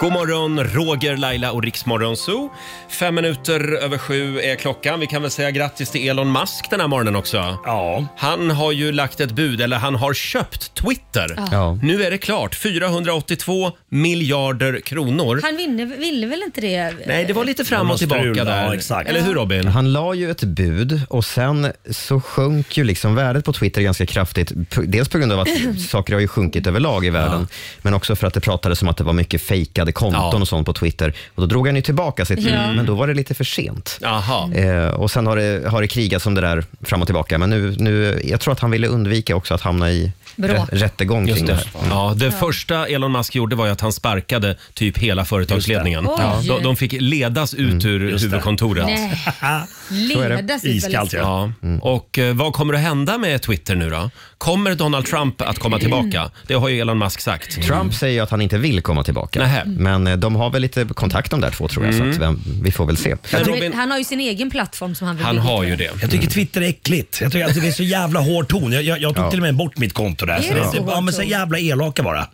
A: God morgon, Roger, Laila och Riksmorgon Zoo. Fem minuter över sju är klockan. Vi kan väl säga grattis till Elon Musk den här morgonen också.
H: Ja.
A: Han har ju lagt ett bud, eller han har köpt Twitter.
E: Ja.
A: Nu är det klart. 482 miljarder kronor.
B: Han vinner, ville väl inte det?
A: Nej, det var lite fram och
H: Det var strul,
A: tillbaka där.
H: ja, exakt.
A: Eller hur Robin?
E: Han la ju ett bud och sen så sjönk ju liksom värdet på Twitter ganska kraftigt. P- Dels på grund av att saker har ju sjunkit överlag i världen, men också för att det pratades om att det var mycket fejkade konton
A: Ja.
E: och sånt på Twitter. Och då drog han ju tillbaka sitt bud, men då var det lite för sent.
A: Jaha.
E: Eh, och sen har det, har det krigats om det där fram och tillbaka, men nu, nu, jag tror att han ville undvika också att hamna i
B: Bråk.
E: rä- rättegång kring det. här.
A: Ja, det första Elon Musk gjorde var ju att han sparkade typ hela företagsledningen.
B: Oj.
A: Ja. De, de fick ledas ut ur huvudkontoret.
B: Nej.
E: är det.
B: Leda sitt
H: Iskallt ja.
A: Ja. Och eh, vad kommer att hända med Twitter nu då? Kommer Donald Trump att komma tillbaka? Det har ju Elon Musk sagt.
E: Trump säger ju att han inte vill komma tillbaka,
A: Nähä.
E: men eh, de har väl lite kontakt de där två tror jag, så att vem, vi får väl se.
A: Men
B: Han, vill,
A: Robin,
B: han har ju sin egen plattform som han vill
A: han
B: bygga
A: har
B: upp.
A: ju det.
H: Jag tycker Twitter är äckligt. Jag tycker alltså det är så jävla hård ton. Jag, jag, jag tog
E: Ja.
H: till och med bort mitt konto där.
B: Är det
H: Så det, typ-
B: så
H: ja,
B: hård
H: men så
B: ton?
H: jävla elaka bara.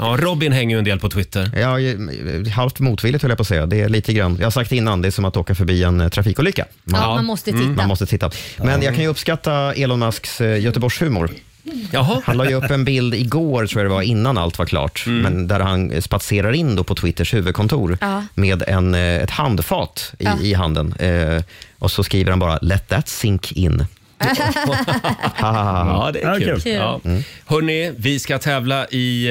A: Ja, Robin hänger ju en del på Twitter.
E: Ja, halvt motvilligt höll jag på att säga. Det är lite grann, jag har sagt innan, det är som att åka förbi en eh, trafikolycka. Man,
B: Ja, man måste titta.
E: Mm, man måste titta. Men jag kan ju uppskatta Elon Musks eh, Göteborgshumor.
A: Jaha.
E: Han la ju upp en bild igår, tror jag det var, innan allt var klart, men där han eh, spatserar in då på Twitters huvudkontor
B: Ja.
E: med en, eh, ett handfat i, i handen. Eh, och så skriver han bara “Let that sink in”.
A: Ja, det är
H: Ja,
A: kul. Mm.
H: kul.
A: Ja. Hörni, vi ska tävla i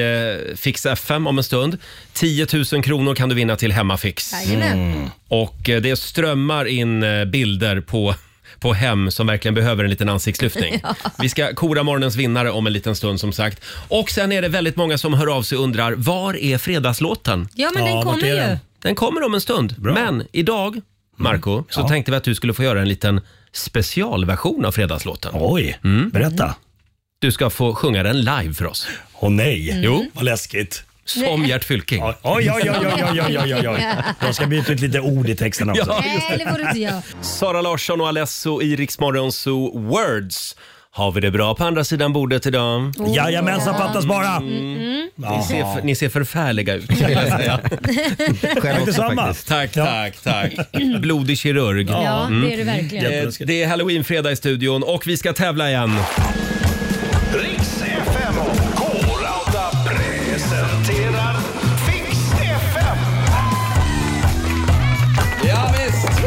A: eh, Fix FM om en stund. 10 000 kronor kan du vinna till Hemmafix.
B: Jajamän.
A: Och eh, det strömmar in eh, bilder på på hem som verkligen behöver en liten ansiktslyftning. Vi ska kora morgonens vinnare om en liten stund som sagt. Och sen är det väldigt många som hör av sig och undrar, var är fredagslåten?
B: Ja, men
H: Ja,
B: den
H: vart
B: kommer
H: är den?
B: ju.
A: Den kommer om en stund. Men idag, Marco, så tänkte vi att du skulle få göra en liten specialversion av fredagslåten.
H: Oj,
A: Mm.
H: berätta.
A: Du ska få sjunga den live för oss.
H: Åh nej,
A: Mm.
H: jo. vad läskigt.
A: Som Gert Fylking.
H: Oj, oj, oj, oj, oj, oj, oj, oj, oj. Jag ska byta ut lite ord i texten också.
A: Ja.
B: Nej, det får du inte göra.
A: Sara Larsson och Alesso i Rix Morgon Zoo Words. Har vi det bra på andra sidan bordet idag?
H: Jajamensan, fattas bara.
A: Mm. Ni ser, för, ni ser förfärliga ut. vill jag säga.
E: Själv också
H: Detsamma.
E: faktiskt.
A: tack,
H: Ja.
A: tack, tack. Blodig kirurg.
B: Ja, det är det verkligen.
A: Eh, Det är halloween-fredag i studion och vi ska tävla igen.
C: Riks FM och K-Rauta presenterar Fix FM.
A: Ja, visst.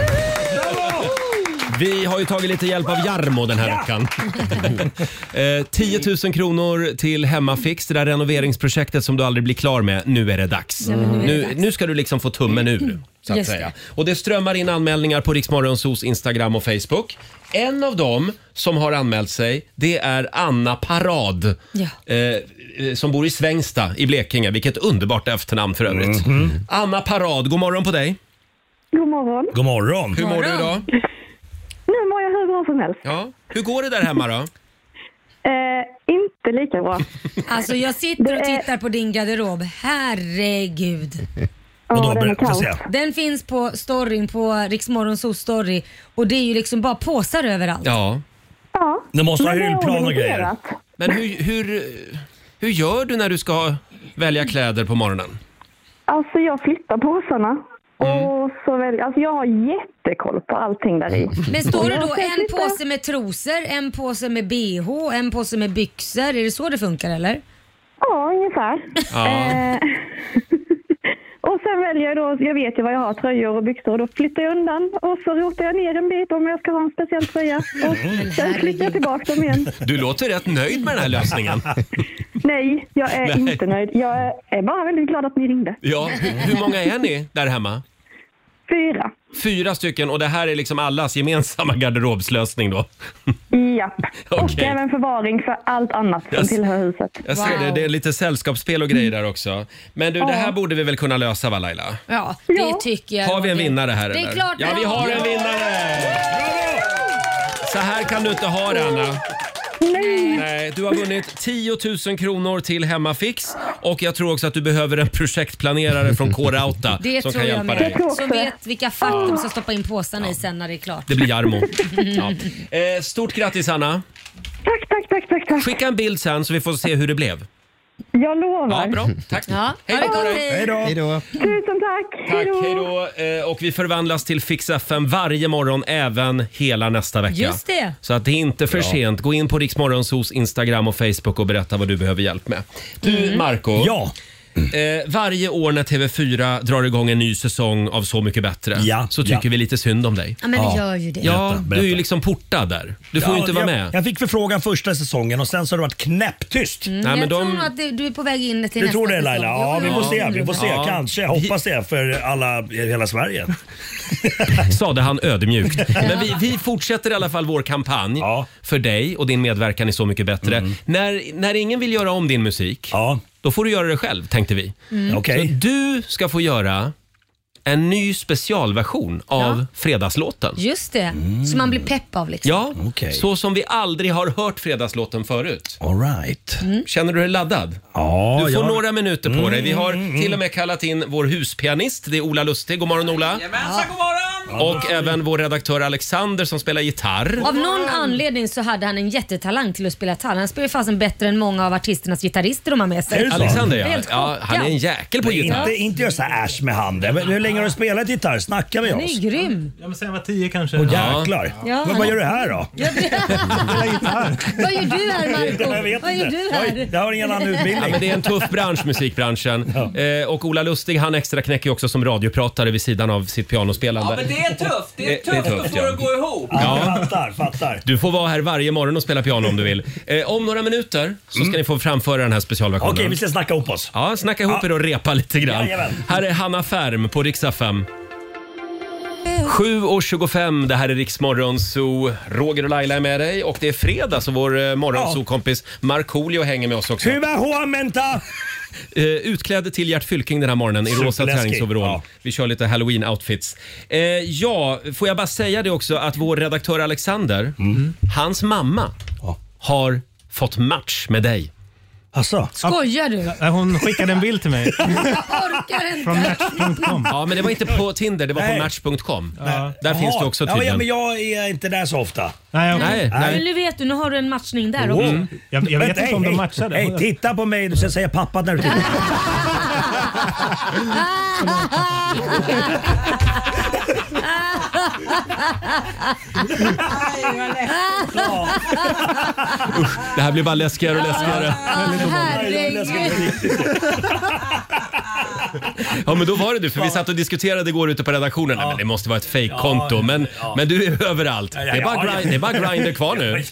A: Vi har ju tagit lite hjälp av Jarmo den här veckan. Eh, 10 000 kronor till Hemmafix, det där renoveringsprojektet som du aldrig blir klar med. Nu är det dags. Nu, nu ska du liksom få tummen ur. Så att
B: Just det.
A: säga. Och det strömmar in anmälningar på Riksmorgonsos Instagram och Facebook. En av dem som har anmält sig, det är Anna Parad.
B: Ja.
A: Eh, eh, som bor i Svängsta i Blekinge. Vilket underbart efternamn för övrigt. Anna Parad, god morgon på dig.
I: God morgon.
H: God morgon.
A: Hur mår du idag?
B: Morgon.
I: Nu mår jag hur bra som helst.
A: Ja. Hur går det där hemma då?
I: Eh, inte lika bra.
B: Alltså jag sitter och tittar på din garderob. Herregud.
I: Ja,
H: Vadå,
I: den
H: ber-
I: är
H: får
I: kaos.
H: se.
B: Den finns på storyn på Riksmorgonsos story och det är ju liksom bara påsar överallt.
A: Ja.
I: Ja.
H: Du måste ha
I: Men det är
H: hyllplan och grejer.
I: organiserat.
A: Men hur, hur, hur gör du när du ska välja kläder på morgonen?
I: Alltså jag flyttar påsarna.
H: Mm.
I: Och så väl, alltså jag har jättekoll på allting där
H: Mm.
I: i.
B: Men står det då
I: Ja,
B: en
I: precis.
B: påse med trosor, en påse med bh, en påse med byxor? Är det så det funkar eller?
I: Ja, ungefär.
A: Ja.
I: Eh, och sen väljer jag då, jag vet ju vad jag har, tröjor och byxor. Och då flyttar jag undan och så rotar jag ner en bit om jag ska ha en speciell tröja.
H: Mm.
I: Och sen flyttar jag tillbaka dem igen.
A: Du låter rätt nöjd med den här lösningen.
I: Nej, jag är inte nöjd. Jag är bara väldigt glad att ni ringde.
A: Ja, hur, hur många är ni där hemma?
I: Fyra.
A: Fyra stycken och det här är liksom allas gemensamma garderobslösning då.
I: Japp. Och
A: Okej.
I: även förvaring för allt annat som
A: Yes.
I: tillhör huset.
A: Jag ser
B: Wow.
A: det, det är lite sällskapsspel och grejer där också. Men du, det här borde vi väl kunna lösa va Laila?
B: Ja, det
I: Ja.
B: tycker jag.
A: Har vi en
B: Roger.
A: vinnare här
B: Det är
A: eller?
B: klart
A: Ja, vi har en vinnare! Så här kan du inte ha det Anna.
I: Nej!
A: Nej, du har vunnit 10 000 kronor till Hemmafix och jag tror också att du behöver en projektplanerare från K-Rauta
B: Det
A: som
B: tror
A: kan
B: jag
A: hjälpa
B: med.
A: dig.
I: tror
B: Som
I: också.
B: vet vilka fack de ska stoppa in påsarna i sen när det är klart.
A: Det blir Jarmo. Ja. Eh, stort grattis Anna.
I: Tack, tack, tack, tack, tack.
A: Skicka en bild sen så vi får se hur det blev.
I: Jag lovar.
A: Ja, bra. Tack.
B: Ja,
A: Hej
B: ha det
A: då på
B: gott.
A: dig.
B: Hej.
E: Hej då.
I: Tusen tack.
A: Tack,
I: Hej
A: hej
I: då.
A: då. Eh, Och vi förvandlas till Fix FM varje morgon, även hela nästa vecka.
B: Just det.
A: Så att det är inte för sent. Gå in på Riksmorgonsos Instagram och Facebook och berätta vad du behöver hjälp med. Du,
B: Mm.
A: Marco.
H: Ja.
A: Eh, varje år när TV4 drar igång en ny säsong av Så mycket bättre
H: Ja,
A: så tycker
H: ja.
A: vi lite synd om dig.
B: Ja, men vi gör ju det.
A: Ja, du
H: Berätta,
A: är ju
H: berätta.
A: liksom portad där. Du får ju
H: Ja,
A: inte vara
H: jag,
A: med.
H: Jag fick förfrågan första säsongen och sen så har det varit knäpptyst.
A: Nej, men
B: jag
A: de-
B: tror nog att du, du är på väg in till
H: Du
B: nästa
H: tror det
B: säsong.
H: Laila? Ja, vi får se. Vi får se.
A: Ja.
H: Kanske. Jag hoppas det för alla i hela Sverige.
A: sade han ödmjukt. Men vi, vi fortsätter i alla fall vår kampanj
H: Ja. Mm.
A: för dig och din medverkan i Så mycket bättre. När, när ingen vill göra om din musik,
H: Ja, Mm.
A: då får du göra det själv tänkte vi.
H: okej.
A: Så du ska få göra en ny specialversion av Fredagslåten.
B: Just det, som man blir pepp av liksom.
A: Ja,
H: Okej.
A: så som vi aldrig har hört Fredagslåten förut.
H: All right.
A: Känner du dig laddad?
H: Mm. Ja,
A: Du får
H: jag- Mm,
A: några minuter på dig. Vi har till och med kallat in vår huspianist. Det är Ola Lustig. God morgon Ola.
G: Jajamensan, god morgon!
A: Och även vår redaktör Alexander som spelar gitarr.
B: Av någon anledning så hade han en jättetalang till att spela gitarr. Han spelar ju fasen bättre än många av artisternas gitarrister de har med sig.
H: Är det så?
A: Alexander ja.
B: Helt
A: ja han är en
B: chockad.
A: jäkel på gitarr.
H: Inte, inte göra så här ash med handen. Men Hur länge har du spelat gitarr? Snacka med
B: Han är
H: oss.
B: ju grym.
F: Ja, men sen jag var tio kanske.
H: Åh jäklar.
B: Ja.
H: Men vad gör du här då?
B: Ja, det- Vad gör du här
H: Jag
B: Marco?
H: vet
B: Vad gör
H: inte.
B: du
H: Oj,
B: här?
H: Jag har ingen annan
A: Ja,
H: utbildning.
A: men det är en tuff bransch, musikbranschen. Eh, och Ola Lustig han extra knäcker också som radiopratare vid sidan av sitt pianospelande.
G: Ja, men det är tufft. Det är
A: Det- det är
G: tufft
A: tufft,
G: att få
A: ja.
G: det att gå ihop.
H: Ja, fattar, fattar.
A: Du får vara här varje morgon och spela piano om du vill. Eh, om några minuter så ska ni få framföra den här specialversionen.
H: Okej, vi ska snacka ihop oss.
A: Ja, snacka ihop er och repa lite grann.
H: Jajamän.
A: Här är Hanna Färm på Riksa 5. 7.25, det här är Riksmorgon Zoo. Roger och Laila är med dig och det är fredag så vår eh, morgonzoo-kompis Markoolio hänger med oss också.
H: Huvudhårmenta!
A: Eh, utklädd till Gert Fylking den här morgonen i rosa
H: Superläskig.
A: träningsoverall.
H: Ja.
A: Vi kör lite halloween-outfits. Eh, ja, får jag bara säga det också att vår redaktör Alexander,
H: Mm.
A: hans mamma har fått match med dig.
H: Alltså,
B: Skojar du?
F: Nej, Hon skickade en bild till mig
B: Orkar
F: från
B: inte.
F: match.com.
A: Ja, men det var inte på Tinder, det var på
H: Nej.
A: Match.com. Där finns
H: jaha.
A: du också
H: ja, ja,
A: tydligen.
H: men jag är inte där så ofta.
F: Nej, okej.
A: Nej, nej.
B: Men nu vet du, nu har du en matchning där
H: Wow.
B: också.
F: Jag, jag vet
H: Vänta,
F: inte om
H: hej,
F: de
H: hej.
F: matchade.
H: Hej, titta på mig, du ska säga pappa när du tittar.
A: Det här blir bara läskigare och läskigare.
B: Herregud.
A: Ja, men då var det du, för vi satt och diskuterade igår ute på redaktionen. Nej, men det måste vara ett fejkkonto, men, men du är överallt. Det
H: ja,
A: är bara,
H: ja, ja.
A: grind, det är bara grinder kvar nu.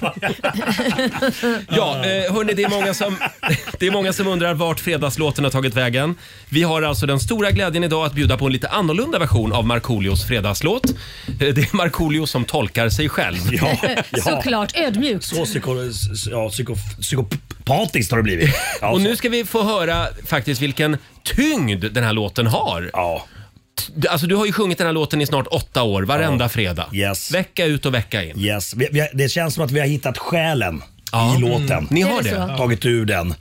A: Ja, eh, hörni, det är, många som, det är många som undrar vart fredagslåten har tagit vägen. Vi har alltså den stora glädjen idag att bjuda på en lite annorlunda version av Markoolios fredagslåt. Eh, Det är Markoolio som tolkar sig själv.
H: Ja, ja.
B: Såklart, ödmjukt.
H: Så psyko, ja, psyko, psykopatiskt har det blivit. Alltså. Ja,
A: Och
H: så-
A: nu ska vi få höra faktiskt vilken tyngd den här låten har.
H: Ja.
A: Alltså, du har ju sjungit den här låten i snart åtta år, varenda fredag.
H: Yes.
A: Vecka ut och vecka in.
H: Yes. Vi, vi, har- det känns som att vi har hittat själen
A: Ja. Mm.
H: i låten.
A: Ni har
B: Är det så?
A: det?
H: Tagit ur den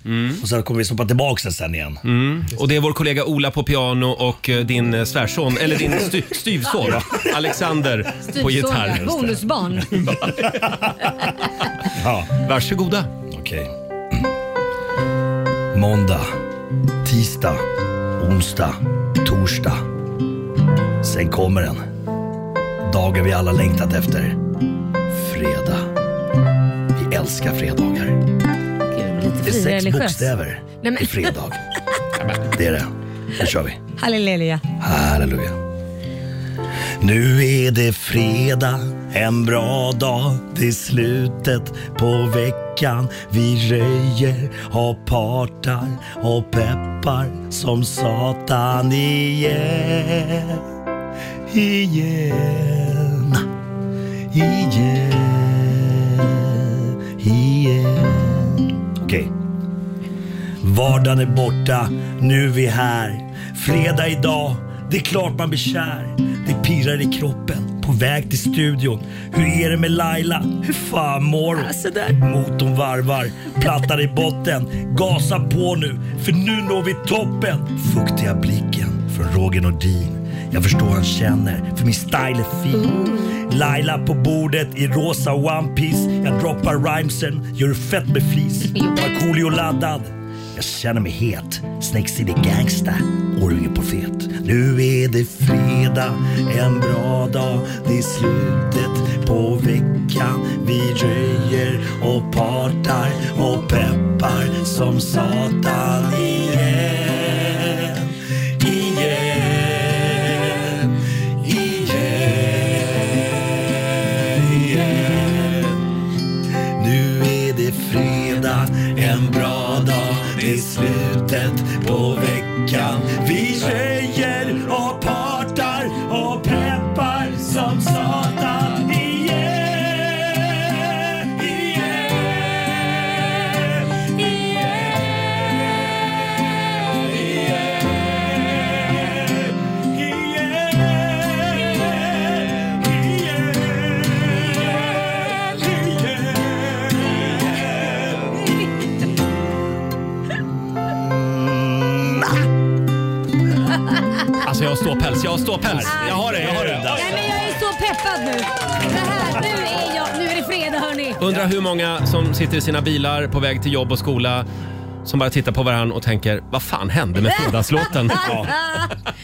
H: och sen kommer vi stoppa tillbaka den sen igen.
A: Mm. Och det är vår kollega Ola på piano och eh, din eh, svärson, eller din sty- styvson Alexander
B: Typ
A: på
B: så,
A: gitarr.
B: ja. Bonusbarn.
H: Ja,
A: Varsågoda.
H: okej. Mm. Måndag, tisdag, onsdag, torsdag. Sen kommer den. Dagen vi alla längtat efter. Fredag. Vi älskar fredagar.
B: Gud, lite
H: Det är sex
B: frireligiös.
H: bokstäver
B: Nej, men-
H: i fredag. Det är det. Nu kör vi.
B: Halleluja.
H: Halleluja. Nu är det fredag, en bra dag. Det är slutet på veckan. Vi röjer och partar och peppar som satan igen. Igen. Igen. Igen. Okej. Vardagen är borta, nu är vi här. Fredag idag, det är klart man blir kär. Det pirrar i kroppen, på väg till studion. Hur är det med Laila? Hur fan mår hon? Motorn varvar, plattar i botten. Gasa på nu, för nu når vi toppen. Fuktiga blicken från Roger Nordin. Jag förstår han känner, för min style är fin. Laila på bordet i rosa One Piece Jag droppar rhymesen, gör det fett med flis. Markoolio laddad. Jag känner mig het. Snake City Gangsta. Orgie på fet. Nu är det fredag, en bra dag. Det är slutet på veckan. Vi röjer och partar och peppar som satan igen. Igen, igen, igen. Nu är det fredag, en bra dag. Det är slutet på veckan. Vi röjer och partar och peppar som satan. Igen, igen, igen, igen, igen, igen, igen.
A: Alltså jag har ståpäls, jag har ståpäls. Jag har det, jag har det.
B: Nej men jag är så peppad nu. Det här, nu är jag, nu är det fredag hörni.
A: Undrar hur många som sitter i sina bilar på väg till jobb och skola som bara tittar på varandra och tänker vad fan hände med fredagslåten?
B: Ja.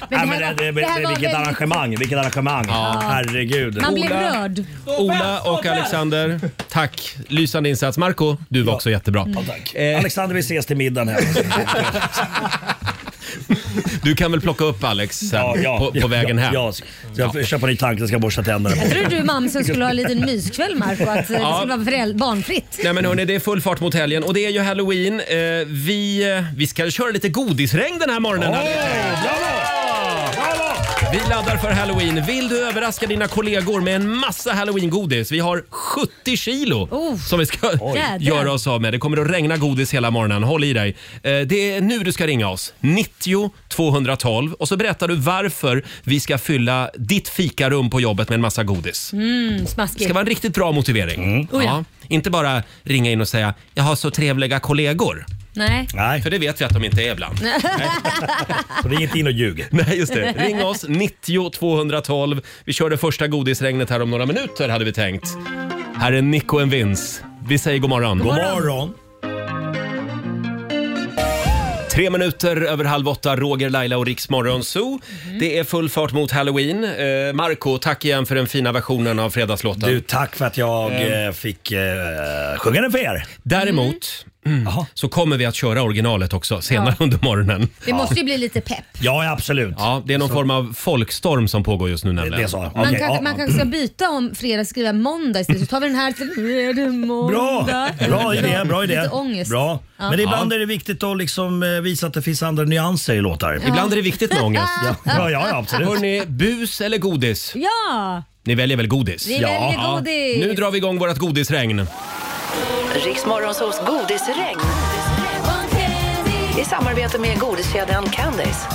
J: Nej,
B: Men
J: men
B: det här
J: det, det,
B: var, det här
J: det,
B: var
J: vilket
B: väldigt...
J: arrangemang, vilket arrangemang. Herregud.
B: Man blev rörd.
A: Ola och Alexander, tack. Lysande insats. Marco, du var också jättebra.
J: Tack. Alexander, vi ses till middagen här.
A: Du kan väl plocka upp Alex sen
J: Ja, ja,
A: på, på
J: ja,
A: vägen hem?
J: Ja, ja. Jag får köpa en ny tank, jag ska borsta tänderna. på.
B: Tror du mamsen skulle ha en liten myskväll Marco? Att det
A: Ja.
B: skulle vara föräld- barnfritt?
A: Nej men hörni, det är full fart mot helgen och det är ju halloween. Eh, vi, eh, vi ska köra lite godisregn den här morgonen. här. Vi laddar för halloween. Vill du överraska dina kollegor med en massa halloweengodis? Vi har 70 kilo
B: Oh.
A: som vi ska
B: Jädrar.
A: göra oss av med. Det kommer att regna godis hela morgonen. Håll i dig. Eh, Det är nu du ska ringa oss. 90 212 och så berättar du varför vi ska fylla ditt fikarum på jobbet med en massa godis.
B: Mm,
A: Det ska
B: smaskigt.
A: vara en riktigt bra motivering.
B: Oh ja.
A: Inte bara ringa in och säga “jag har så trevliga kollegor”.
B: Nej.
J: Nej,
A: För det vet vi att de inte är ibland.
J: så ring inte in och ljug.
A: Nej, just det. Ring oss, 90 212. Vi kör det första godisregnet här om några minuter hade vi tänkt. Här är Nico and Vince. Vi säger god morgon.
J: God morgon.
A: Tre minuter över halv åtta, Roger, Laila och Riks Morgonzoo.
B: Mm.
A: Det är full fart mot Halloween. Eh, Marco, tack igen för den fina versionen av fredagslåten.
J: Du, tack för att jag eh, fick eh, sjunga den för er.
A: Däremot
J: Jaha.
A: så kommer vi att köra originalet också senare under morgonen.
B: Det måste ju bli lite pepp.
J: Ja, ja, absolut.
A: Ja, det är någon form av folkstorm som pågår just nu
J: Det
A: nämligen.
J: är så.
B: Man,
J: Okej,
B: kanske,
J: ja,
B: man
J: ja.
B: kanske ska byta om fredag skriva måndag istället. Så tar vi den här till fredag,
J: Bra!
B: måndag.
J: Bra idé, bra idé.
B: Lite ångest.
J: Bra. Men ibland
A: Ja.
J: är det viktigt att liksom eh, visa att det finns andra nyanser i låtar.
A: Ibland är det viktigt med ångest.
J: Ja, ja, ja absolut.
A: Hörni, bus eller godis?
B: Ja,
A: Ni väljer väl godis?
B: vi väljer godis.
A: Nu drar vi igång vårt godisregn.
K: Riksmorgonsols godisregn i samarbete med godiskedjan Candice.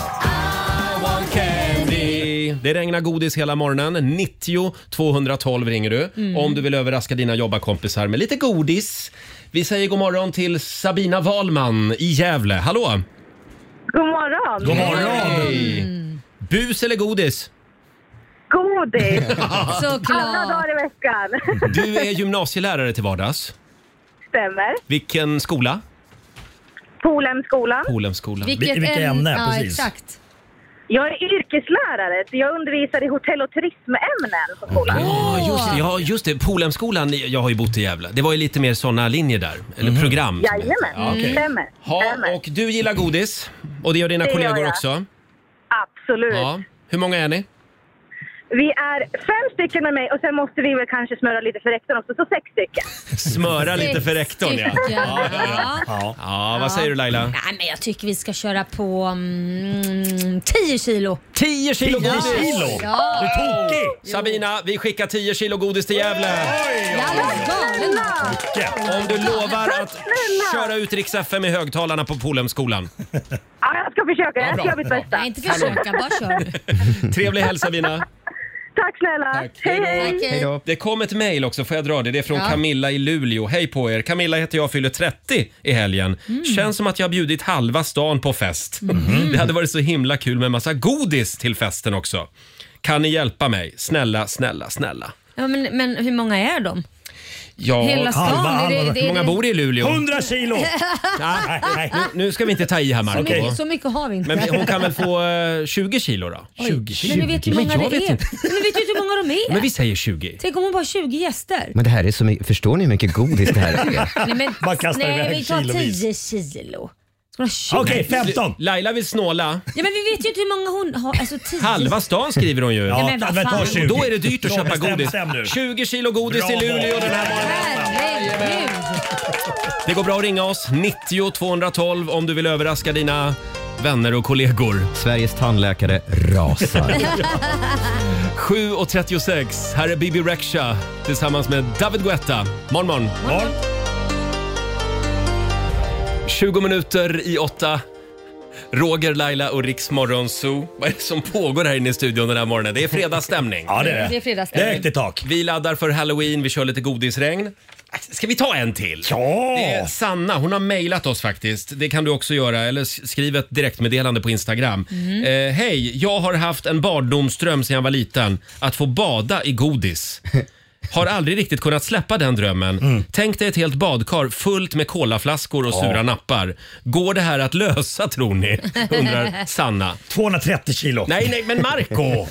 A: Det regnar godis hela morgonen. 90 212 ringer du om du vill överraska dina jobbarkompisar med lite godis. Vi säger god morgon till Sabina Wahlman i Gävle. Hallå!
L: God morgon!
J: God morgon!
A: Hej. Bus eller godis?
L: Godis! Alla
B: Såklart.
L: dagar i veckan.
A: Du är gymnasielärare till vardags.
L: Stämmer.
A: Vilken skola?
L: Polhemskolan.
A: Polhemskolan.
J: Vil- vilka ämnen,
B: ja,
J: precis.
B: Exakt.
L: Jag är yrkeslärare, så jag undervisar i hotell och turismämnen på skolan.
A: Ja, just det. Ja, just det. Polhemskolan, jag har ju bott i Gävle. Det var ju lite mer såna linjer där. Eller program. som heter.
L: Jajamän,
A: Ja, okej.
L: stämmer.
A: Ha,
L: stämmer.
A: och du gillar godis. Och det gör dina
L: Det gör
A: kollegor
L: jag. Mm.
A: också.
L: Absolut.
A: Ja. Hur många är ni?
L: Vi är fem stycken med mig och sen måste vi väl kanske smöra lite för rektorn också, så sex stycken.
A: Smöra lite för rektorn, ja.
B: Stycken.
A: Ja, ja, ja.
B: Ja.
J: Ja.
A: ja vad säger du Laila?
B: Nej, men jag tycker vi ska köra på mm, 10 kilo.
A: 10 kilo
J: Tio
A: godis!
J: kilo?
B: Ja.
J: Du är tokig!
A: Sabina, vi skickar 10 kilo godis till Gävle.
B: Jag är alldeles galen.
A: Om du lovar att köra ut Rix FM i högtalarna på Polhemskolan.
L: Ja, jag ska försöka. Jag ska
A: bra,
L: göra mitt bästa.
B: Nej, inte försöka. Bara kör.
A: Trevlig helg Sabina.
L: Tack snälla. Hej, hej.
M: Hej
B: Okej.
M: då.
A: Det kom ett mejl också, får jag dra det? Det är från
B: Ja.
A: Camilla i Luleå. Hej på er! Camilla heter jag, fyller 30 i helgen.
B: Mm.
A: Känns som att jag har bjudit halva stan på fest.
B: Mhm.
A: Det hade varit så himla kul med massa godis till festen också. Kan ni hjälpa mig? Snälla, snälla, snälla.
B: Ja, men, men hur många är de?
A: Ja,
B: Hela stan, halva, halva. det är- det är-
A: Hur många bor i Luleå?
B: 100 kilo.
A: nej, nej. Nu, nu ska vi inte ta i här
B: Så
A: Marco.
B: mycket, så mycket har vi inte.
A: Men vi- hon kan väl få eh, 20 kilo då?
B: Oj, Men ni vet hur
A: Men
B: många
A: jag
B: det
A: vet
B: är.
A: inte.
B: Men ni vet ju inte hur många de är.
E: Men vi säger 20.
B: Tänk om hon bara har 20 gäster.
E: Men det här är så mycket, förstår ni hur mycket godis det här är?
B: Nej, men,
E: Bara kastar
B: nej
E: iväg
B: vi tar
E: kilovis.
B: 10 kilo. Ska hon ha 20?
A: Laila vill snåla.
B: Ja, men vi vet ju inte hur många hon har. Alltså 10.
A: Halva stan skriver hon ju.
B: Ja, Ja, men vad men ta fan. 20.
A: Då är det dyrt att
H: Ja,
A: köpa
H: bestäm-
A: godis.
H: bestäm nu.
A: 20 kilo godis till Luleå den här morgonen.
B: Herregud.
A: Det går bra att ringa oss, 90 212 om du vill överraska dina vänner och kollegor.
E: Sveriges tandläkare rasar.
A: 7.36, här är Bibi Rexha tillsammans med David Guetta. Morgon, morgon. 20 minuter i åtta. Roger, Laila och Riks Morgonzoo. Vad är det som pågår här inne i studion den här morgonen? Det är fredagsstämning.
B: Ja, det är det. Det är fredagsstämning. Det är högt i
A: tak. Vi laddar för halloween, vi kör lite godisregn. Ska vi ta en till? Ja! Det är Sanna, hon har mejlat oss faktiskt. Det kan du också göra, eller s- skriv ett direktmeddelande på Instagram. Eh, Hej, jag har haft en barndomsdröm sedan jag var liten. Att få bada i godis. Har aldrig riktigt kunnat släppa den drömmen. Tänk dig ett helt badkar fullt med kolaflaskor och
H: Ja.
A: sura nappar. Går det här att lösa tror ni? Undrar Sanna.
H: 230 kilo.
A: Nej, nej, men Marco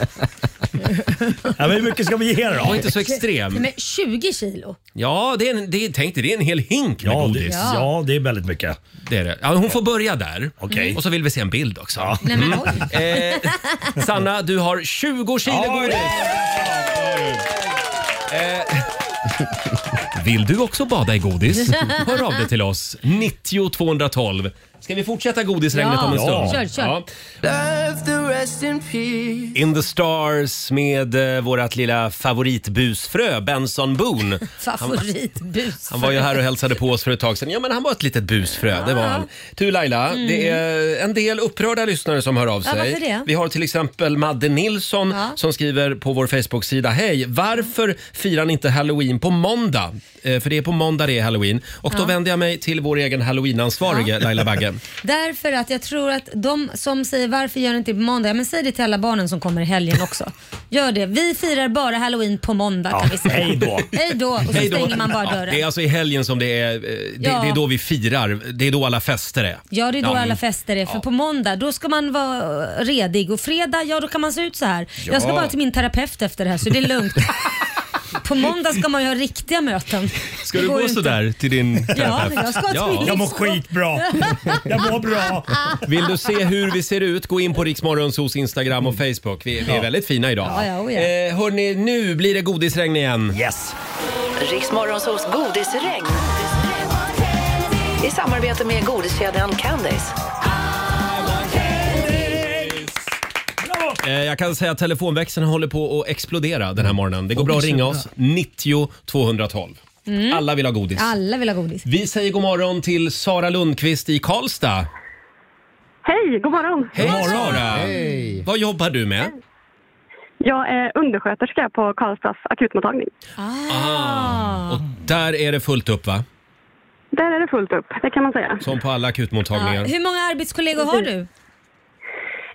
H: Ja, men hur mycket ska vi ge då?
A: Var inte så extrem.
B: Nej, Men 20 kilo.
A: Ja, det är en, det är, tänk dig, det är en hel hink med
H: Ja, det-
A: godis.
B: Ja. ja,
A: det är väldigt mycket. Det är det. Ja, hon får börja där. Och så vill vi se en bild också.
B: Nej, men
A: Mm. Eh, Sanna, du har 20 kilo godis. Eh, vill du också bada i godis? Hör av dig till oss. 90 212. Ska vi fortsätta godisregnet om en stund? Ja. In the stars med eh, vårat lilla favoritbusfrö Benson Boone.
B: Favoritbus.
A: Han var ju här och hälsade på oss för ett tag sedan. Ja, men han var ett litet busfrö, det var han. Du Laila,
B: Mm.
A: det är en del upprörda lyssnare som hör av
B: Ja,
A: sig.
B: varför det?
A: Vi har till exempel Madde Nilsson som skriver på vår Facebook-sida. Hej, varför firar ni inte halloween på måndag? Eh, för det är på måndag det är halloween. Och då
B: Ja.
A: vänder jag mig till vår egen halloween-ansvarige Laila Bagge.
B: Därför att jag tror att de som säger varför gör ni inte på måndag? Ja, men säg det till alla barnen som kommer i helgen också. Gör det. Vi firar bara halloween på måndag kan vi säga.
A: hej då.
B: Hej då. Och så
A: Hej då.
B: stänger man bara
A: Ja,
B: dörren.
A: Det är alltså i helgen som det är, eh, det,
B: Ja.
A: det är då vi firar. Det är då alla fester är.
B: Ja, det är då
A: Ja.
B: alla fester är. För på måndag, då ska man vara eh, redig. Och fredag, ja då kan man se ut så här.
A: Ja.
B: Jag ska bara till min terapeut efter det här, så det är lugnt. på måndag ska man ju ha riktiga möten.
A: Ska
B: Det
A: du
B: går ju
A: gå
B: inte.
A: sådär till din
B: Ja,
A: terapeut?
B: men jag ska till min
H: Jag mår skitbra. Jag mår bra.
A: Vill du se hur vi ser ut, gå in på Riksmorgonsos Instagram och Facebook. Vi, vi är väldigt fina idag.
K: Ja, ja, oh ja.
A: Eh, hörni, nu blir det godisregn igen.
H: Yes!
K: Riksmorgonsos godisregn. I samarbete med godiskedjan Candice.
A: Eh, Jag kan säga att telefonväxeln håller på att explodera den här morgonen. Det går bra att ringa oss. 90 212.
B: Mm.
A: Alla vill ha godis.
B: Alla vill ha godis.
A: Vi säger god morgon till Sara Lundqvist i Karlstad.
I: Hej, god morgon.
A: Hej Sara! Vad jobbar du med?
I: Jag är undersköterska på Karlstads akutmottagning.
A: Ah. Och där är det fullt upp va?
I: Där är det fullt upp, det kan man säga.
A: Som på alla
B: Ja,
A: akutmottagningar.
B: hur många arbetskollegor har du?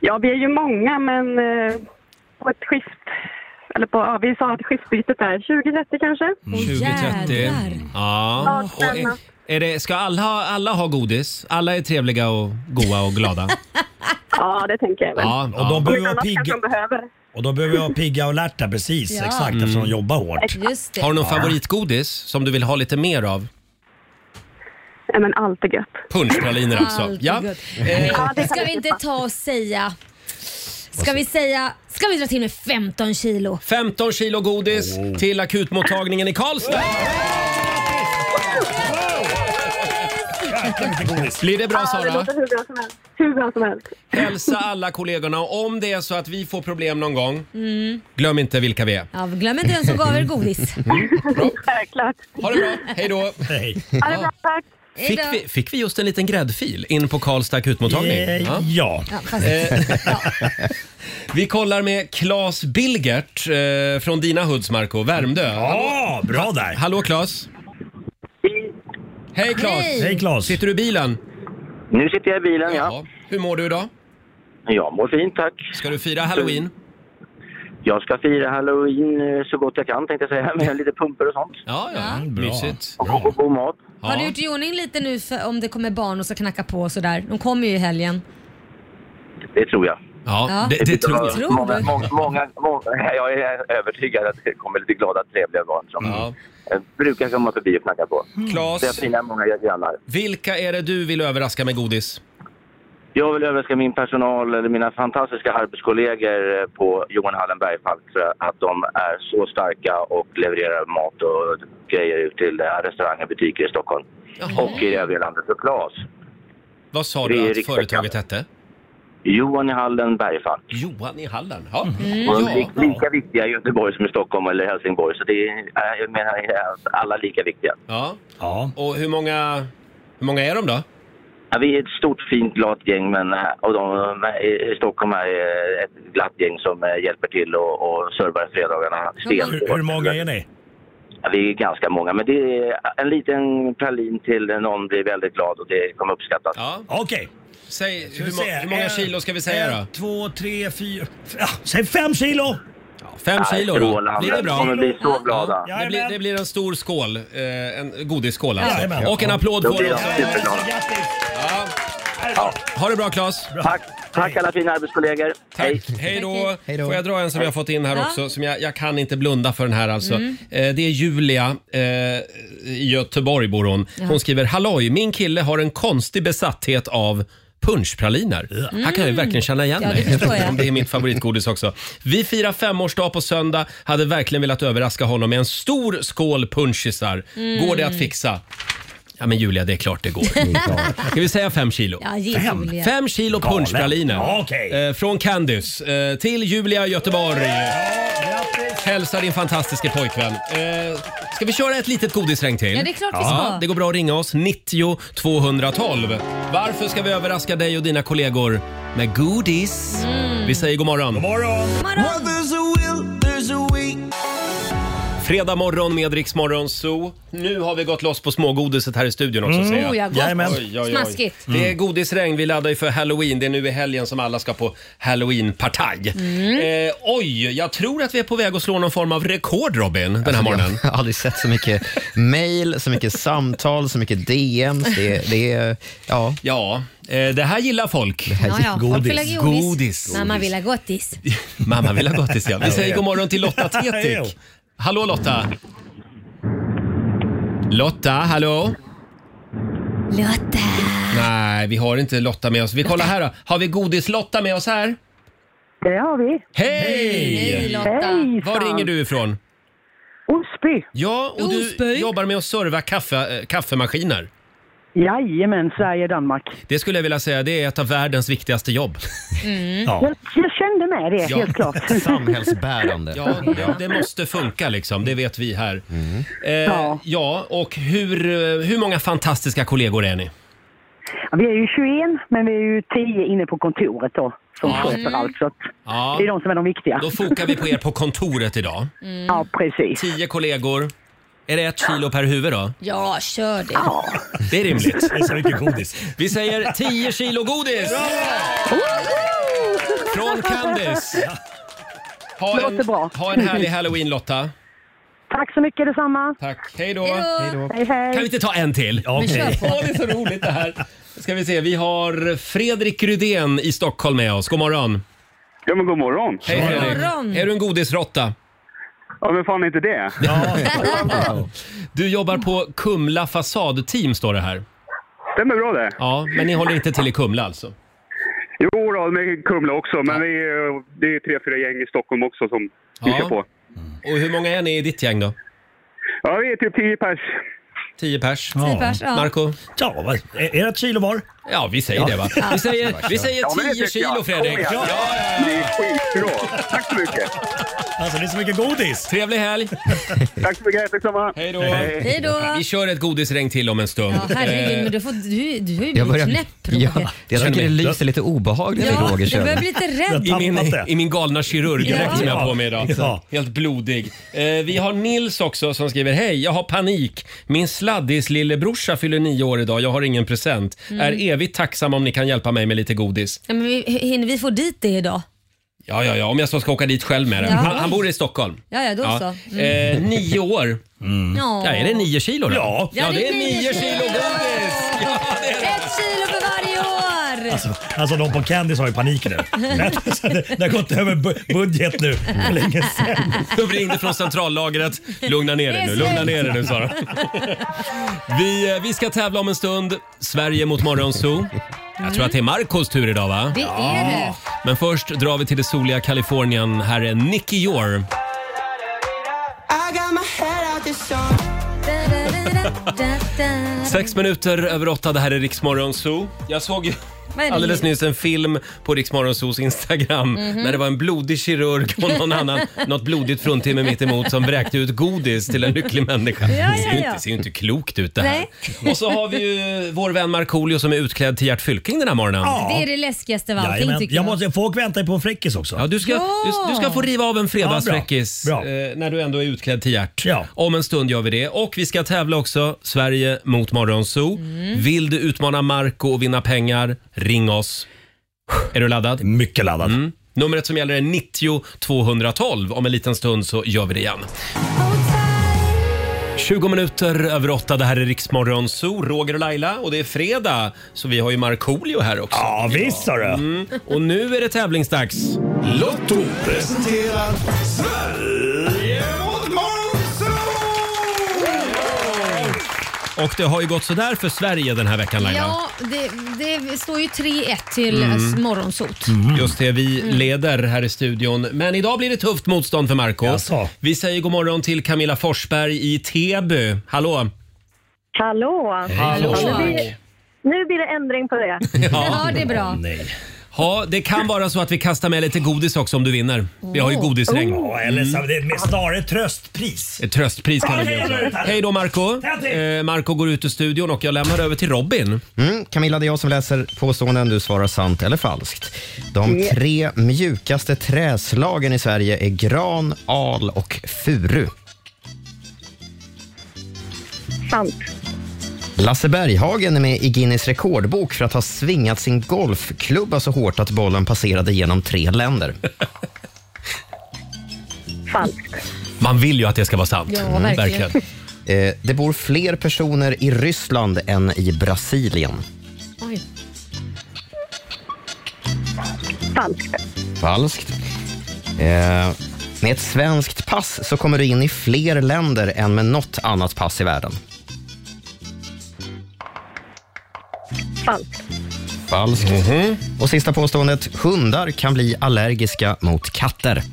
I: Ja, vi är ju många, men eh, på ett skift, eller på, ja, vi sa att skiftbytet är 20-30 kanske.
A: Mm, 2030. Ja.
I: Ja,
A: Och är, är det, ska alla, ha- alla ha godis? Alla är trevliga och goa och glada.
I: Ja, det tänker jag väl.
A: Ja, och de
I: Om
H: behöver
I: inte
H: vara
I: annat
H: pigga.
I: kanske de behöver.
H: Och då behöver vi ha pigga och alerta, precis.
I: Ja.
H: Exakt,
A: Mm.
H: eftersom de jobbar hårt.
B: Just det.
A: Har du någon
H: Ja.
A: favoritgodis som du vill ha lite mer av?
I: Nej, men allt är gött.
A: Punschpraliner alltså.
B: Allt är
A: Ja.
B: gott.
A: Eh,
B: Men Ska vi inte ta och säga... Ska vi säga... Ska vi dra till med 15 kilo?
A: 15 kilo godis till akutmottagningen i Karlstad. Blir det bra
I: Ja, det
A: Sara?
I: låter hur bra som helst. Hur bra som helst.
A: Hälsa alla kollegorna och om det är så att vi får problem någon gång,
B: Mm.
A: glöm inte vilka vi är.
B: Ja, glöm inte den som gav er godis.
A: Mm.
I: Självklart.
A: Ha det bra, hej då! Hej.
I: Ha det bra, tack.
A: Fick vi, fick vi just en liten gräddfil in på Karlstad akutmottagning?
H: Eh,
A: ja.
B: Ja, fast-
A: Eh, Vi kollar med Claes Bilgert eh, från dina hoods, Marco, Värmdö. Ja, bra där! Hallå Claes! Hej Claes!
N: Hej. Hej, Claes.
A: Sitter du i bilen?
N: Nu sitter jag i bilen, ja.
A: Hur mår du idag?
N: Jag mår fint, tack.
A: Ska du fira halloween?
N: Jag ska fira halloween eh, så gott jag kan tänkte jag säga, med lite pumpor och sånt.
A: Ja,
B: ja,
A: bra. mysigt.
N: Och, och, god mat.
B: Har du gjort i ordning lite nu för om det kommer barn och ska knacka på och sådär? De kommer ju i helgen.
N: Det tror jag.
B: Ja. det- det tror jag. Tror
N: Många,
B: du?
N: många, många, många, jag är övertygad att det kommer lite glada, trevliga barn som eh, brukar komma förbi och knacka på.
A: Claes.
N: Det är fina, många grannar.
A: Vilka är det du vill överraska med godis?
N: Jag vill överraska min personal, eller mina fantastiska arbetskollegor eh, på Johan Hallenberg Falk för att de är så starka och levererar mat och grejer ut till eh, restauranger och butiker i Stockholm. Och i övriga landet för Claes.
A: Vad sa
N: Mm. Det är
A: du att företaget hette?
N: Johan i Hallen Bergfalk.
A: Johan i Hallen? Ja.
N: Och de är
A: Ja.
N: li- lika viktiga i Göteborg som i Stockholm eller Helsingborg. Så det är, eh, jag menar eh, att alla är lika viktiga.
A: Ja. Och hur många, hur många är de då?
N: Ja, vi är ett stort fint glatt gäng men, eh, och de, eh, i Stockholm är eh, ett glatt gäng som eh, hjälper till och, och servar fredagarna
A: Mm.
N: stenhårt.
H: Hur, hur många är ni?
N: Ja, Vi är ganska många, men det är en liten pralin till när någon blir väldigt glad och det kommer uppskattas.
A: Ja.
H: Okej.
A: Säg,
H: Ska
A: hur,
H: vi
A: må-
H: se,
A: hur många
H: en,
A: kilo ska vi säga
H: en,
A: då?
H: Två, tre, fyra... f- Ja, säg fem kilo!
A: Fem
N: Nej,
A: kilo då?
N: strålande.
A: Blir det bra?
N: De kommer bli så glada.
A: Ja, det, blir, det blir en stor skål, eh, en godisskål
H: Jajamän.
A: alltså. Och en applåd
N: Då
A: på
N: blir
A: den
N: jag
A: också.
N: superglad.
A: Ja. Ha det bra Claes!
N: Tack, tack alla fina arbetskollegor. Hej.
A: Hej då! Får jag dra en som jag har fått in här
N: Ja.
A: också? Som jag, jag kan inte blunda för den här alltså.
N: Mm.
A: Eh, det är Julia eh, i Göteborg bor hon.
N: Ja.
A: Hon skriver “Halloj, min kille har en konstig besatthet av punschpraliner. Här kan jag ju verkligen känna igen
J: Ja, det
A: mig.
J: förstår jag.
A: Om det är mitt favoritgodis också. Vi firar femårsdag på söndag. Hade verkligen velat överraska honom med en stor skål punschisar.
B: Mm.
A: Går det att fixa? Ja men Julia, det är klart det går.
B: Det är klart.
A: Ska vi säga fem kilo?
B: Ja, ge Fem? Julia.
A: Fem kilo
B: Galen.
A: punschpraliner.
B: Ja,
A: Eh, från Candice eh, till Julia i Göteborg. Hälsa din fantastiska pojkvän. Eh, ska vi köra ett litet godisregn till?
B: Ja, det är klart vi ska.
A: det går bra att ringa oss. 90 212. Varför ska vi överraska dig och dina kollegor med godis?
B: Mm.
A: Vi säger god morgon. God morgon! Fredag morgon med Rix Morgon Zoo. Nu har vi gått loss på smågodiset här i studion också.
B: Mm.
A: ser jag.
B: Oh ja, gott. Jajamän. Smaskigt.
A: Mm. Det är godisregn. Vi laddar ju för halloween. Det är nu i helgen som alla ska på halloweenpartaj.
D: Mm.
A: Eh, oj, jag tror att vi är på väg att slå någon form av rekord, Robin, den här
E: Alltså,
A: morgonen.
E: Jag har aldrig sett så mycket mail, så mycket samtal, så mycket DM. Det, det är, ja.
A: Ja, eh, det här gillar folk.
B: Ja, ja. Folk vill ha godis.
A: Godis.
B: Mamma vill ha gottis.
A: Mamma vill ha gottis, ja. Vi
B: Ja,
A: säger
B: ja.
A: god morgon till Lotta
B: Jo.
A: Tetik. Hallå Lotta! Lotta, hallå?
B: Lotta.
A: Nej, vi har inte Lotta med oss. Vi kollar här då. Har vi godis-Lotta med oss här?
D: Det har vi.
A: Hej!
D: Hej, Lotta. Hej,
A: Var
D: fan.
A: ringer du ifrån?
D: Osby.
A: Ja, och du jobbar med att serva kaffe, eh, kaffemaskiner.
D: Jajamän, Sverige, Danmark.
A: Det skulle jag vilja säga, det är ett av världens viktigaste jobb. Ja.
D: Jag, jag kände med det,
A: Ja.
D: helt klart.
E: Samhällsbärande.
A: Ja, ja, det måste funka liksom. Det vet vi här.
B: Mm.
A: Eh, ja. och hur, eh, hur många fantastiska kollegor är ni?
D: Ja, Vi är ju 21, men vi är ju 10 inne på kontoret då, som sköter allt. Så att
A: Ja.
D: Det är de som är de viktiga.
A: Då fokar vi på er på kontoret idag.
D: Ja, precis.
A: Tio kollegor. Är det ett kilo per huvud då?
B: Ja, kör det.
A: Det är rimligt.
B: Det är så mycket godis.
A: Vi säger 10 kilo godis! Från Candice. Ha en,
D: Låter bra.
A: ha en härlig halloween Lotta.
D: Tack så mycket detsamma.
A: Tack. Hej då.
D: Hej, hej.
A: Kan vi inte ta en till?
D: Men okej. kör på.
A: Ja, det är så roligt det här. Ska vi se, vi har Fredrik Rydén i Stockholm med oss. God morgon.
O: Ja, men god morgon.
A: Hej
O: God
A: Fredrik.
O: morgon.
A: Är du en godisrotta?
O: Ja, men fan inte det.
A: Du jobbar på Kumla fasadteam står det här.
O: Stämmer bra det.
A: Ja, men ni håller inte till i Kumla alltså?
O: Jo då, med Kumla också, men vi är, det är tre, fyra gäng i Stockholm också som vi ska på.
A: Och hur många är ni i ditt gäng då?
O: Ja, vi är typ tio pers.
A: Tio pers.
O: Tio pers, ja.
A: Marco?
H: Ja, vad- är är det ett kilo var?
A: Ja, vi säger
H: Ja.
A: det va? Vi säger, vi säger
H: Ja, men det
A: 10
H: tycker jag.
A: kilo Fredrik.
H: Kom igen.
O: Det är skitbra. Tack så mycket.
H: Alltså det är så mycket godis.
A: Trevlig helg.
O: Tack så mycket. Detsamma.
A: Hej då.
B: Hej då.
A: Vi kör ett godisregn till om en stund.
B: Ja, herregud,
A: Eh,
B: men du, får, du, du har ju blivit
A: Jag börjar-
B: knäpp
A: Ja,
B: Roger.
A: jag tycker det lyser
E: lite obehagligt
B: Ja, över Roger jag börjar bli lite rädd.
A: I min,
B: Tappat det.
A: I min galna kirurgdräkt
B: Ja.
A: som jag har på mig idag.
B: Ja.
A: Helt blodig. Eh, vi har Nils också som skriver Hej, jag har panik. Min sladdis lillebrorsa fyller nio år idag. Jag har ingen present.
B: Mm.
A: Är evigt tacksam om ni kan hjälpa mig med lite godis.
B: Ja, men vi, hinner vi få dit det idag?
A: Ja, ja, ja, om jag så ska åka dit själv med det.
B: Ja.
A: Han, han bor i Stockholm.
B: Ja, ja, då så. Mm.
A: Eh, nio år.
B: Ja.
A: Ja, är det nio kilo då?
H: Ja.
A: ja det är nio kilo godis!
B: Ett kilo för varje år!
H: Alltså, alltså de på Candice har ju panik nu. alltså, det har gått över bu- budget nu för länge sedan.
A: De ringde från centrallagret. Lugna ner
B: Det
A: er
B: är
A: nu, lugna
B: slut.
A: ner er nu Sara. Vi, eh, vi ska tävla om en stund. Sverige mot Morgonzoo. Jag tror att det är Marcos tur idag va?
B: Det är det.
A: Men först drar vi till det soliga Kalifornien. Här är Nicky Jor. Sex minuter över åtta, det här är Riksmorgon Zoo. Jag såg ju
B: Vad är det?
A: alldeles nyss en film på Riksmorgon Zoos Instagram
B: Mhm.
A: när det var en blodig kirurg och någon annan, något blodigt fruntimmer mitt emot som vräkte ut godis till en lycklig människa.
B: Ja, ja,
A: Det ser ju
B: ja.
A: inte, ser ju inte klokt ut det här.
B: Nej.
A: Och så har vi ju vår vän Markoolio som är utklädd till Gert Fylking den här morgonen.
B: Det är det läskigaste av allting
H: Jajamän.
B: tycker
H: Jag
B: jag.
H: måste, folk väntar ju på en fräckis också.
A: Ja, du, ska,
B: Ja.
A: du, du ska få riva av en fredagsfräckis
H: fredagsfräckis bra. bra.
A: eh, när du ändå är utklädd till Gert. Om en stund gör vi det. Och vi ska tävla också, Sverige mot Morgonzoo. Vill du utmana Marco och vinna pengar, ring oss. Är du laddad?
H: Mycket laddad.
A: Mm. Numret som gäller är 90 212. Om en liten stund så gör vi det igen. 20 minuter över åtta, det här är Riksmorgon Zoo, Roger och Laila och det är fredag så vi har ju Markoolio här också.
H: Ja, visst har du.
A: Mm. Och nu är det tävlingsdags. Lotto
C: presenterar Sverige mot Monzo!
A: Och det har ju gått sådär för Sverige den här veckan Laila.
B: Ja, det, det står ju 3-1 till
A: Mm.
B: mm. morgonsot.
A: Just det, vi
B: Mm.
A: leder här i studion. Men idag blir det tufft motstånd för Marco. Vi säger god morgon till Camilla Forsberg i Täby. Hallå!
I: Hallå!
A: Hallå.
I: Nu blir, nu blir det ändring på det.
A: Ja,
B: det är bra.
A: Ja, det kan vara så att vi kastar med lite godis också om du vinner. Vi har ju godisregn.
H: Ja, eller så, det är mer- snarare ett tröstpris.
A: Ett tröstpris kan det bli också. Hej då Marco Eh, Marco går ut ur studion och jag lämnar över till Robin.
E: Mm, Camilla, det är jag som läser påståenden. Du svarar sant eller falskt. De tre mjukaste träslagen i Sverige är gran, al och furu.
I: Sant.
E: Lasse Berghagen är med i Guinness rekordbok för att ha svingat sin golfklubba så hårt att bollen passerade genom tre länder.
I: Falskt.
A: Man vill ju att det ska vara sant.
I: Ja, Mm. verkligen.
E: Eh, Det bor fler personer i Ryssland än i Brasilien.
B: Oj.
I: Falskt.
E: Falskt. Eh, Med ett svenskt pass så kommer du in i fler länder än med något annat pass i världen.
I: Falskt.
E: Falskt. Mhm. Och sista påståendet. Hundar kan bli allergiska mot katter.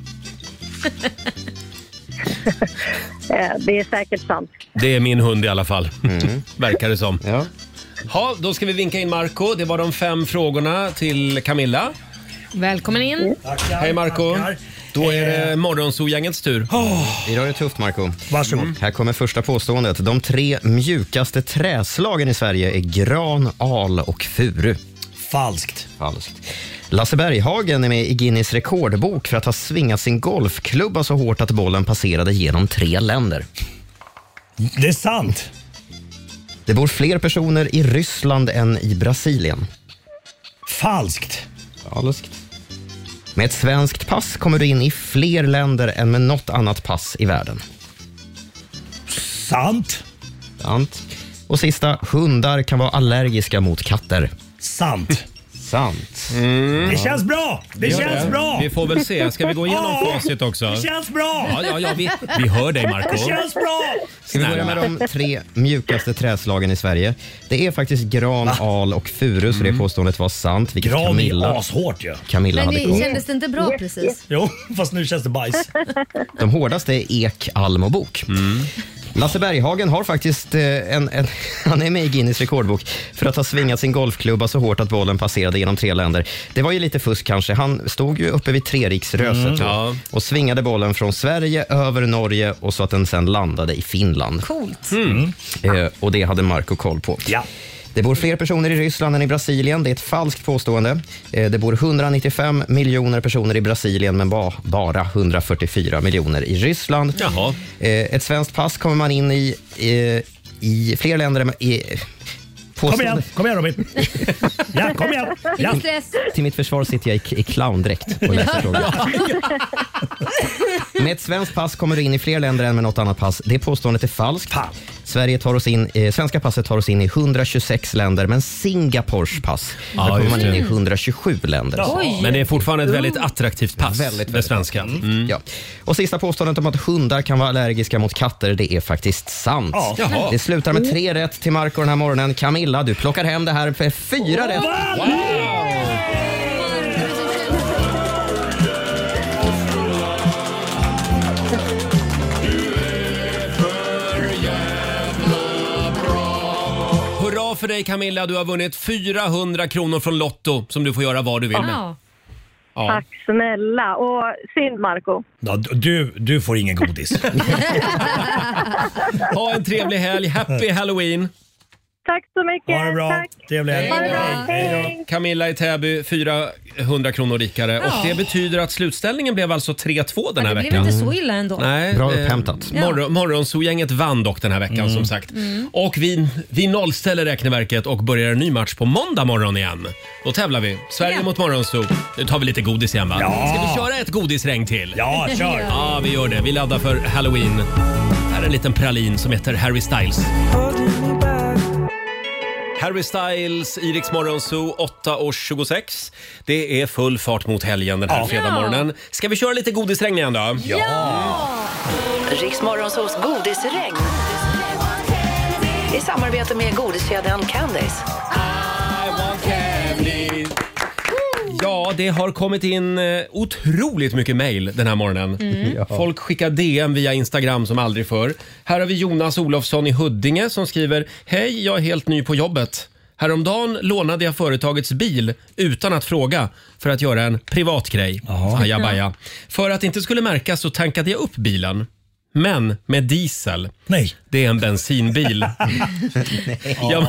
I: Eh, Det är säkert sant.
A: Det är min hund i alla fall, verkar det som. Ja. Ha, då ska vi vinka in Marco. Det var de fem frågorna till Camilla.
B: Välkommen in.
A: Hej Marco Då är
H: Eh.
A: det Morgonzoo-gängets tur.
E: Idag är det tufft, Marco. Varsågod. Här kommer första påståendet. De tre mjukaste träslagen i Sverige är gran, al och furu.
H: Falskt.
E: Falskt. Lasse Berghagen är med i Guinness rekordbok för att ha svingat sin golfklubba så hårt att bollen passerade genom tre länder.
H: Det är sant.
E: Det bor fler personer i Ryssland än i Brasilien.
H: Falskt.
E: Falskt. Med ett svenskt pass kommer du in i fler länder än med något annat pass i världen.
H: Sant.
E: Sant. Och sista, hundar kan vara allergiska mot katter.
H: Sant.
E: Sant.
H: Det känns bra! Det
A: Gör
H: känns
A: det.
H: bra!
A: Vi får väl se. Ska vi gå igenom
H: Ja.
A: facit också?
H: Det känns bra!
A: Ja, ja, ja, vi, vi hör dig Marco
H: Det känns bra!
E: Ska vi börja med de tre mjukaste träslagen i Sverige? Det är faktiskt gran, al och furu, så det påståendet var sant. Vilket
H: Gran är
E: Camilla,
H: ashårt ju.
E: Camilla
B: Men
E: hade
B: det
E: koll.
B: kändes det inte bra precis?
H: Jo, fast nu känns det bajs.
E: De hårdaste är ek, alm och bok.
B: Mm.
E: Lasse Berghagen har faktiskt eh, en, en, han är med i Guinness rekordbok för att ha svingat sin golfklubba så hårt att bollen passerade genom tre länder. Det var ju lite fusk kanske. Han stod ju uppe vid Treriksröset
A: Mm.
E: tror jag,
A: Ja.
E: och svingade bollen från Sverige över Norge och så att den sen landade i Finland.
B: Coolt.
A: Mm.
E: Eh, och det hade Marco koll på. Det bor fler personer i Ryssland än i Brasilien. Det är ett falskt påstående. Eh, Det bor 195 miljoner personer i Brasilien, men ba- bara 144 miljoner i Ryssland.
A: Jaha.
E: eh, Ett svenskt pass kommer man in i eh, i fler länder än... I,
H: Kom igen, kom igen Robin. Ja, kom igen.
B: Ingen
H: Ja.
B: stress.
E: Till mitt försvar sitter jag i, i clowndräkt och läser frågor. Med ett svenskt pass kommer du in i fler länder än med något annat pass. Det påståendet är falskt. Sverige tar oss in, eh, svenska passet tar oss in i 126 länder, men Singapores pass,
A: Ja,
E: där kommer
A: just
E: man in
A: det.
E: i 127 länder.
A: Oj. Men det är fortfarande ett väldigt attraktivt pass,
E: väldigt, väldigt
A: det svenska. Mm.
E: Ja. Och sista påståendet om att hundar kan vara allergiska mot katter, det är faktiskt sant.
A: Ja. Jaha. Oh.
E: Det slutar med tre rätt till Marco den här morgonen. Camilla, du plockar hem det här för fyra rätt.
A: Hurra för dig Camilla, du har vunnit 400 kronor från Lotto som du får göra vad du vill med. Ja.
I: Tack snälla. Och synd Marco.
H: Ja, du, du får ingen godis.
A: Ha en trevlig helg, happy halloween!
I: Tack så mycket.
A: Ha det bra.
I: Tack.
H: Trevlig helg.
I: Ha det bra.
H: Hej då.
A: Camilla i Täby 400 kronor rikare och det betyder att slutställningen blev alltså 3-2 den här
B: Det blev
A: veckan.
B: inte så illa ändå.
A: Nej, eh, Morgon, Morgonzoo-gänget vann dock den här veckan som sagt.
B: Mm.
A: Och vi, vi nollställer räkneverket och börjar en ny match på måndag morgon igen. Då tävlar vi. Sverige mot Morgonzoo. Nu tar vi lite godis igen va?
C: Ja.
A: Ska vi köra ett godisregn till?
C: Ja, kör.
A: Ja, vi gör det. Vi laddar för Halloween. Här är en liten pralin som heter Harry Styles. Harry Styles, Iriks Morgonzoo, 8.26. Det är full fart mot helgen den här
K: Ja.
A: fredagmorgonen. Ska vi köra lite godisregn igen då?
K: Riksmorgonsos godisregn. I samarbete med godiskedjan Candice.
A: Ja, det har kommit in eh, otroligt mycket mejl den här morgonen.
C: Mm. Ja.
A: Folk skickar DM via Instagram som aldrig förr. Här har vi Jonas Olofsson i Huddinge som skriver Hej, jag är helt ny på jobbet. Häromdagen lånade jag företagets bil utan att fråga för att göra en privat grej. Ajabaja. För att det inte skulle märkas så tankade jag upp bilen. Men med diesel.
H: Nej.
A: Det är en bensinbil. Jag,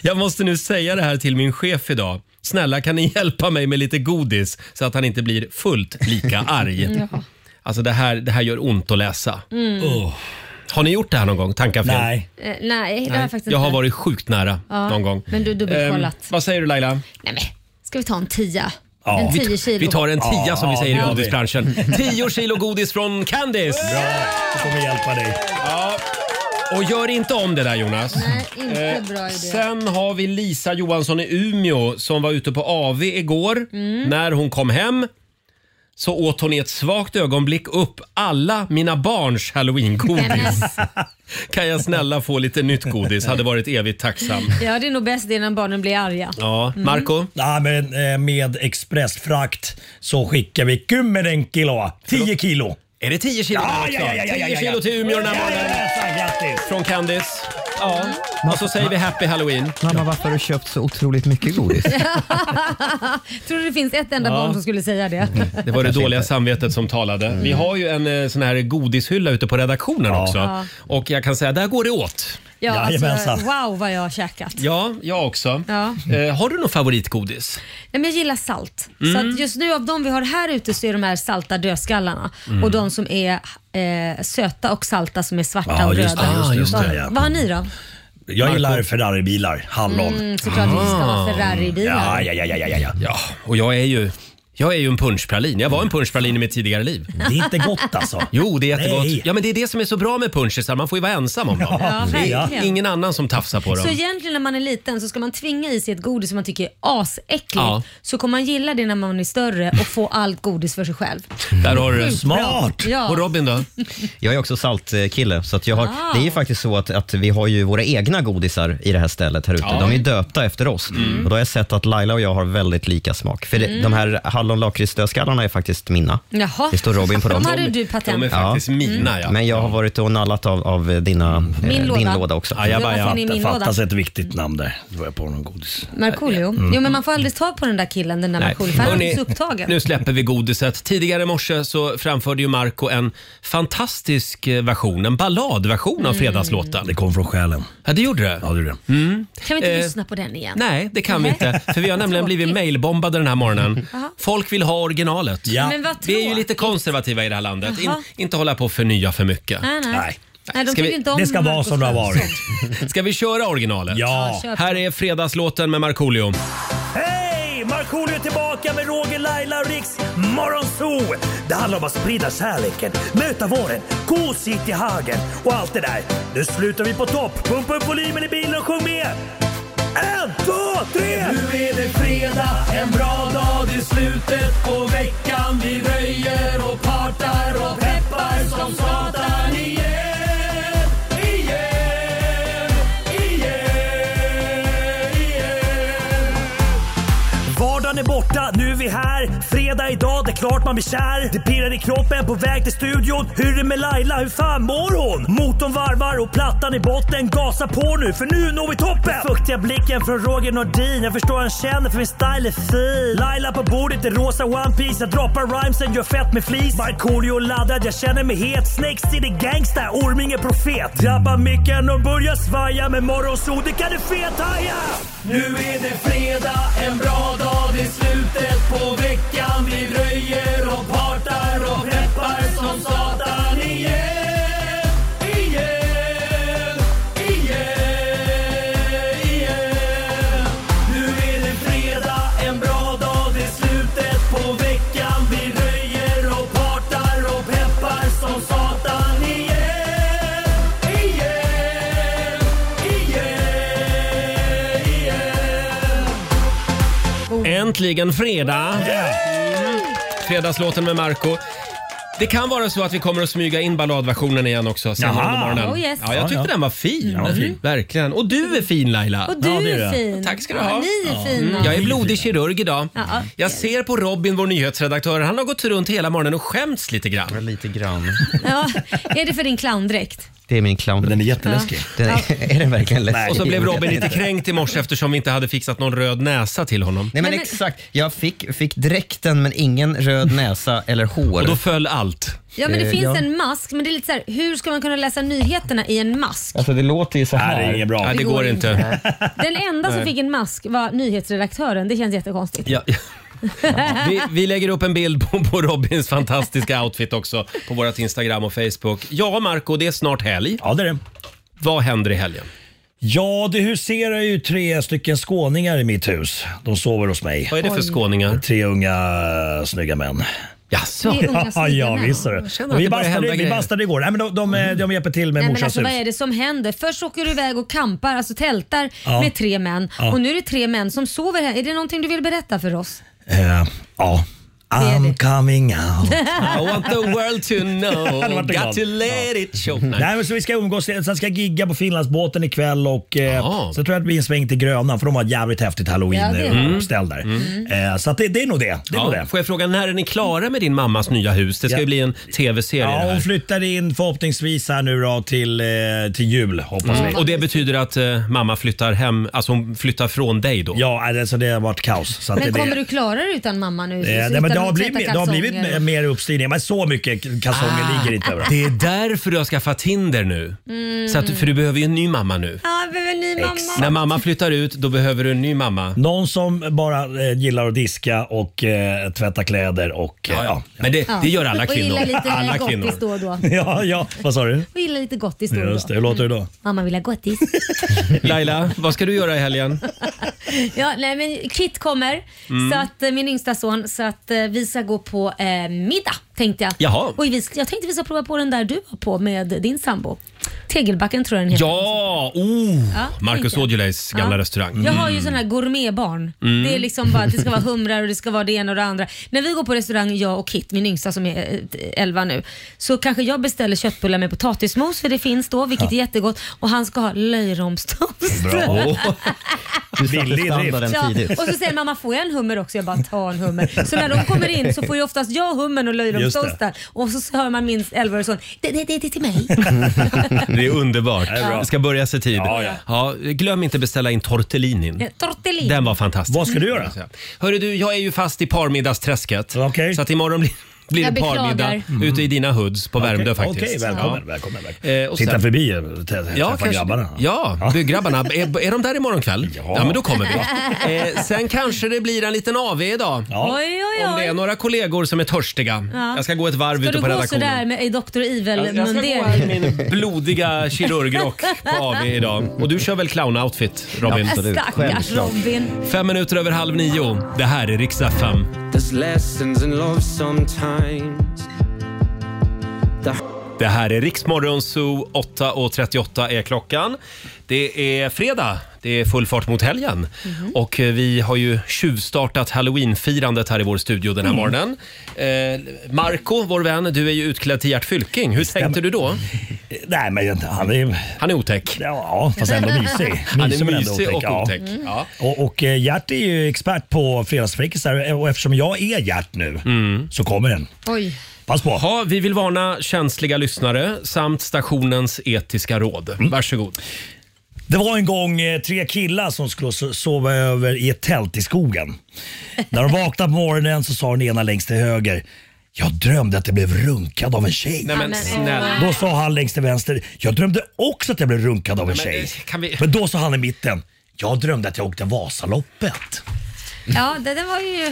A: jag måste nu säga det här till min chef idag. Snälla kan ni hjälpa mig med lite godis så att han inte blir fullt lika arg.
C: Ja.
A: Alltså det här, det här gör ont att läsa.
B: Mm.
A: Åh. Har ni gjort det här någon gång? Tankar fel? Nej.
B: Eh, Nej, det har jag faktiskt
A: Jag har
B: inte.
A: varit sjukt nära
B: Ja,
A: någon gång.
B: men du dubbelkollat.
A: Ehm, vad säger du Laila?
B: Nej, men. Ska vi ta en tia?
A: Ja.
B: En
A: Vi-
B: tio kilo?
A: Vi tar en tia som vi säger
B: Ja.
A: i godisbranschen. 10 kilo godis från Candice! Bra,
H: det kommer hjälpa dig.
A: Ja. Och gör inte om det där Jonas.
B: Nej, inte
A: Eh,
B: bra idé.
A: Sen har vi Lisa Johansson i Umeå som var ute på AV igår.
B: Mm.
A: När hon kom hem så åt hon i ett svagt ögonblick upp alla mina barns halloweengodis. kan jag snälla få lite nytt godis? Hade varit evigt tacksam.
B: Ja, det är nog bäst det när barnen blir arga.
A: Ja, Marco?
H: Ja, men, eh, med expressfrakt så skickar vi kummeren kilo. 10 kilo.
A: Är det 10 kilo?
H: Ja,
A: också?
H: ja, ja, ja, ja, ja,
A: 10
H: ja.
A: kilo till Umeå den här
H: Ja,
A: morgonen. Från Candice. Ja. Och så säger vi happy halloween.
E: Mamma, varför har du köpt så otroligt mycket godis?
B: Tror du det finns ett enda
A: Ja.
B: barn som skulle säga det?
A: Det var det dåliga samvetet som talade.
H: Mm.
A: Vi har ju en eh, sån här godishylla ute på redaktionen också.
B: Ja.
A: Och jag kan säga, där går det åt.
B: Ja, alltså, wow vad jag har käkat.
A: Ja, jag också.
B: Ja.
A: Eh, har du någon favoritgodis?
B: Nej, men jag gillar salt.
A: Mm.
B: Så att just nu av de vi har här ute så är de här salta dödskallarna
A: Mm.
B: och de som är eh, söta och salta som är svarta
H: Ja,
B: och
H: just det,
B: röda.
H: just det, just det, ja.
B: Vad har ni då?
H: Jag gillar Ferraribilar. Hallon.
B: Mm, såklart vi ska ha Ferraribilar.
H: Ja, ja, ja, ja, ja, ja, ja.
A: Ja, och jag är ju... Jag är ju en punschpralin. Jag var en punschpralin i mitt tidigare liv.
H: Det är inte gott alltså.
A: Jo, det är jättegott.
H: Nej.
A: Ja, men det är det som är så bra med punschisar. Man får ju vara ensam om dem.
B: Ja,
A: det är
B: verkligen.
A: ingen annan som tafsar på dem.
B: Så egentligen när man är liten så ska man tvinga i sig ett godis som man tycker är asäckligt.
A: Ja.
B: Så kommer man gilla det när man är större och få allt godis för sig själv.
A: Där har du det.
B: Sjukt bra. Smart. Ja. Och
A: Robin då?
E: Jag är också saltkille, så att jag har,
B: Ah.
E: det är ju faktiskt så att, att vi har ju våra egna godisar i det här stället här ute.
A: Ja.
E: De är ju döpta efter oss. Och då har jag sett att Laila och jag har väldigt lika smak. För det-
B: Mm.
E: de här hallon-lakritsdödskallarna är faktiskt mina.
B: Jaha.
E: Det står Robin på dem.
B: De hade du patent Mm. på.
E: Men jag har varit och nallat av, av dina, eh, din
B: låda.
E: låda, också.
B: Ajabaja. Varför är ni i min låda? Fattas
H: ett viktigt namn där. Då var jag på någon godis.
B: Markoolio?
A: Mm.
B: Jo men man får aldrig ta på den där killen, den där
A: Nej.
B: Markoolio, för han
A: Hörrni,
B: är så upptagen.
A: Nu släpper vi godiset. Tidigare i morse så framförde ju Marco en fantastisk eh, version, en balladversion av
B: Mm.
A: Fredagslåten. Det kom från själen. Ja, det gjorde det. Ja, det, gjorde det. Mm.
B: Kan vi inte
A: Eh,
B: lyssna på den igen?
A: Nej, det kan vi inte. För vi har nämligen blivit mailbombade den här morgonen.
B: Jaha.
A: Folk vill ha originalet.
B: Ja. Men vad
A: vi är ju lite konservativa i det här landet. In,
B: Jaha.
A: inte hålla på och förnya för mycket.
B: Nej, nej. Nej. Nej, de tycker inte om Marcus Svensson.
A: Ska vi köra originalet?
B: Ja. Ja, kör på.
A: Här är fredagslåten med Markoolio.
C: Hej! Markoolio är tillbaka med Roger, Laila och Riks Morgonzoo! Det handlar om att sprida kärleken, möta våren, gosigt i hagen och allt det där. Nu slutar vi på topp! Pumpa upp volymen i bilen och sjung med! En, två, tre!
J: Nu är det fredag, en bra dag, det är slutet på veckan. Vi röjer och partar och peppar som satan igen. Igen, igen, igen.
C: Vardagen är borta, nu är vi här. Fredag idag, det är klart man blir kär. Det pirrar i kroppen på väg till studion. Hur är det med Laila, hur fan mår hon? Motorn varvar och plattan i botten. Gasa på nu, för nu når vi toppen! Den fuktiga blicken från Roger Nordin. Jag förstår han känner för min style är fin. Laila på bordet i rosa One Piece Jag droppar rhymesen, gör fett med flis. Markoolio laddad, jag känner mig het. Snakes city gangsta, Orminge profet. Drabbar micken och börjar svaja. Med morgonsol, det kan du fethaja!
J: Nu är det fredag, en bra dag, det är slutet på veckan. Vi röjer och partar och peppar som satan igen. Igen, igen, igen. Nu är det fredag, en bra dag, det är slutet på veckan. Vi röjer och partar och peppar som satan igen. Igen, igen, igen.
A: Äntligen fredag! Fredagslåten med Marco Det kan vara så att vi kommer att smyga in balladversionen igen också senare
B: Jaha.
A: under morgonen.
B: Oh, yes.
A: ja, jag tyckte
B: Ja, ja.
A: den var fin.
B: Ja, fin.
A: Verkligen. Och du är fin Laila.
B: Och du är fin.
A: Tack ska du
B: Ja,
A: ha. Mm.
B: ni är
A: Ja.
B: fina.
A: Jag är blodig kirurg idag.
B: Mm. Ja, ja.
A: Jag ser på Robin, vår nyhetsredaktör. Han har gått runt hela morgonen och skämts lite grann.
E: Lite grann.
B: Ja, är det för din clowndräkt?
E: Det är min clown. Den är
B: jätteläskig.
E: Den är, är den verkligen läskig?
A: Och så blev Robin lite
E: Nej,
A: kränkt i morse eftersom vi inte hade fixat någon röd näsa till honom.
E: Nej men exakt. Jag fick, fick dräkten men ingen röd näsa eller hår. Och då
A: föll allt.
B: Ja
H: Eh,
B: men det finns en mask, men det är lite så här, hur ska man kunna läsa nyheterna i en mask?
E: Alltså det låter ju så här.
A: Nej, det är inget bra. Nej, det går inte.
B: Den enda som
A: Nej.
B: fick en mask var nyhetsredaktören, det känns jättekonstigt.
A: Ja. Vi, vi lägger upp en bild på, på Robins fantastiska outfit också på vårt Instagram och Facebook. Ja, Marco, det är snart helg.
H: Ja, det är det.
A: Vad händer i helgen?
H: Ja, det huserar ju tre stycken skåningar i mitt hus. De sover hos mig.
A: Vad är det för Oj. skåningar?
H: Tre unga eh, snygga män.
A: Jaså?
B: Tre unga snygga
H: Ja, ja,
B: män?
H: visst är
B: Jag
H: det.
B: känner
H: Och
B: att
H: Vi
B: det börjar hända
H: bastade, vi
B: grejer.
H: bastade igår. Nej, men de, de, de, de hjälper till
B: Nej,
H: med
B: men
H: morsans
B: alltså, vad är
H: hus.
B: det som händer? Först åker du iväg och kampar, alltså tältar
H: Ja.
B: med tre män
H: Ja.
B: och nu är det tre män som sover här. Är det någonting du vill berätta för oss?
H: Eh, ja. I'm coming out.
A: I want the world to know.
H: Hade varit glad.
A: Got to let it show.
H: Nej.
A: Nej.
H: men så vi ska umgås, sen ska jag gigga på Finlandsbåten ikväll och eh, så tror jag att det blir en sväng till Grönan för de har ett jävligt häftigt
B: Ja,
H: halloween
B: det är
H: eh,
B: det.
H: uppställ där.
B: Mm.
H: Eh, så att det, det är nog det. det, är nog
A: Ja,
H: det.
A: får jag fråga, när är ni klara med din mammas nya hus? Det ska ju
H: Ja.
A: bli en tv-serie det
H: Ja, hon
A: här.
H: flyttar in förhoppningsvis här nu då till, eh, till jul hoppas vi.
A: Mm. Och det betyder att eh, mamma flyttar hem, alltså hon flyttar från dig då?
H: Ja, alltså det har varit kaos. Så
B: Men kommer du klara dig utan mamma nu?
H: Eh, nej,
B: Utan
H: men det,
B: att
H: har
B: tvätta
H: blivit, det har
B: kalsonger
H: blivit
B: och-
H: mer- mer uppstyrning, men så mycket kalsonger
A: Ah.
H: ligger inte överallt.
A: Det är därför du har skaffat Tinder nu.
B: Mm.
A: Så att, för du behöver ju en ny mamma nu.
B: Ja, jag behöver en ny mamma.
A: När mamma flyttar ut, då behöver du en ny mamma.
H: Någon som bara eh, gillar att diska och eh, tvätta kläder och... Eh, ja,
A: Men det,
B: Ja.
A: det gör alla
B: Och
A: kvinnor.
B: gilla lite
A: alla
B: gottis
A: kvinnor.
B: då och då.
H: ja, ja, vad sa du?
B: Och gilla lite gottis då och
H: Just
B: då.
H: det, hur låter det då?
B: Mamma vill ha gottis.
A: Laila, vad ska du göra i helgen?
B: Ja, nej, men Kit kommer,
A: Mm.
B: så att, eh, min yngsta son, så att eh, vi ska gå på eh, middag tänkte jag.
A: Jaha.
B: Och vi, ska- jag tänkte vi ska prova på den där du var på med din sambo. Tegelbacken tror jag den heter.
A: Ja, oh,
B: Ja,
A: Marcus
B: tänkte jag.
A: Aujalais gamla
B: Ja.
A: restaurang.
B: Jag har ju sådana här gourmetbarn.
A: Mm.
B: Det är liksom bara att det ska vara humrar och det ska vara det ena och det andra. När vi går på restaurang, jag och Kit, min yngsta som är eh, 11 nu, så kanske jag beställer köttbullar med potatismos för det finns då, vilket är jättegott. Och han ska ha löjromstoast.
E: Bra. Du satte
H: Billig
E: standarden
B: Ja,
E: tidigt.
B: och så säger mamma, får jag en hummer också? Jag bara, ta en hummer. Så när de kommer in så får ju oftast jag hummern och
A: Just
B: löjromstoasten. Och så hör man min 11-årige son, det, det, det, det är till mig.
A: Det är underbart.
B: är bra.
A: Det ska börja sig tid.
B: Ja, ja.
A: glöm inte beställa in tortellinin.
B: Tortellini.
A: Den var fantastisk.
H: Vad ska du göra?
A: Hörru du, jag är ju fast i parmiddagsträsket. Så att imorgon blir blir
P: Jag
A: det parmiddag
P: beklagar. Mm.
A: ute i dina hoods på Värmdö
H: Okej,
A: faktiskt.
H: okej, välkommen, välkommen,
A: Eh, och
H: Titta
A: sen-
H: förbi och tä- träffa
A: Ja, kanske,
H: grabbarna.
A: ja, bygggrabbarna. Är, är de där imorgon kväll? Ja. men då kommer vi. Eh, sen kanske det blir en liten AV idag.
B: Oj, oj, oj.
A: Om det är några kollegor som är törstiga.
B: Ja.
A: Jag ska gå ett varv
B: Ska
A: ute
B: du
A: på
B: gå
A: redaktionen.
B: sådär med, i Dr.
A: Jag- jag ska gå
B: Evil-mundering?
A: här i min blodiga kirurgrock på AV idag. Och du kör väl clownoutfit Robin?
B: Absolut, Stackars självklart. Robin.
A: Fem minuter över halv nio. Det här är riks FM. Det här är Riksmorgon Zoo. 8.38 är klockan. Det är fredag. Det är full fart mot helgen. Och eh, vi har ju tjuvstartat halloweenfirandet här i vår studio den här
J: Mm.
A: morgonen. Eh, Marco, vår vän, du är ju utklädd till Gert Fylking. Hur tänkte du då?
H: Nej, men han är...
A: Han är otäck.
H: Ja, fast ändå mysig.
A: Han är
H: men ändå
A: mysig och
H: ja.
A: otäck. Ja.
H: Och, och eh, Gert är ju expert på fredagsfräckisar och eftersom jag är Gert nu
A: Mm.
H: så kommer den.
B: Oj.
H: Pass på.
A: Ja, vi vill varna känsliga lyssnare samt stationens etiska råd. Varsågod.
H: Det var en gång eh, tre killar som skulle so- sova över i ett tält i skogen. När de vaknade på morgonen så sa den ena längst till höger jag drömde att jag blev runkad av en tjej.
A: Nej, men snälla.
H: Då sa han längst till vänster, jag drömde också att jag blev runkad av en
A: Nej, men,
H: tjej.
A: kan vi-
H: Men då sa han i mitten, jag drömde att jag åkte Vasaloppet.
B: Ja, det, det var ju...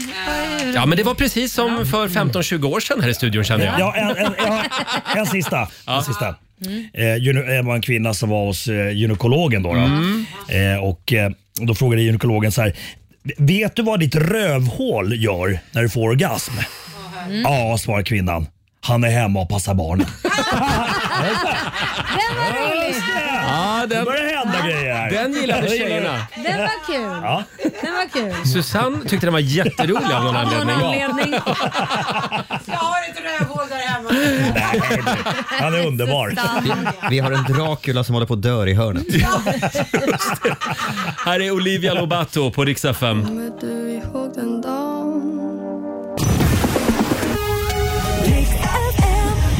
B: Var ju...
A: Ja, men det var precis som för 15-20 år sedan här i studion känner jag.
H: Ja, en, en, en, en sista. En sista. Eh, gyne- det var en kvinna som var hos eh, gynekologen. Då, då. Eh, och, eh, då frågade gynekologen så här. Vet du vad ditt rövhål gör när du får orgasm? Ja, svarar kvinnan. Han är hemma och passar barnen.
B: Den var rolig!
A: Ja, den,
H: börjar hända grejer här.
A: Den gillade
H: Jag gillar
A: tjejerna.
B: Den var kul.
H: Ja.
B: Den var kul.
A: Susanne tyckte den var jätterolig av någon anledning.
G: Jag har ett rövhål där hemma.
H: Han är underbar.
E: Vi har en Dracula som håller på att dör i hörnet.
A: Här är Olivia Lobato på Rix FM.
J: Kommer du ihåg den dagen?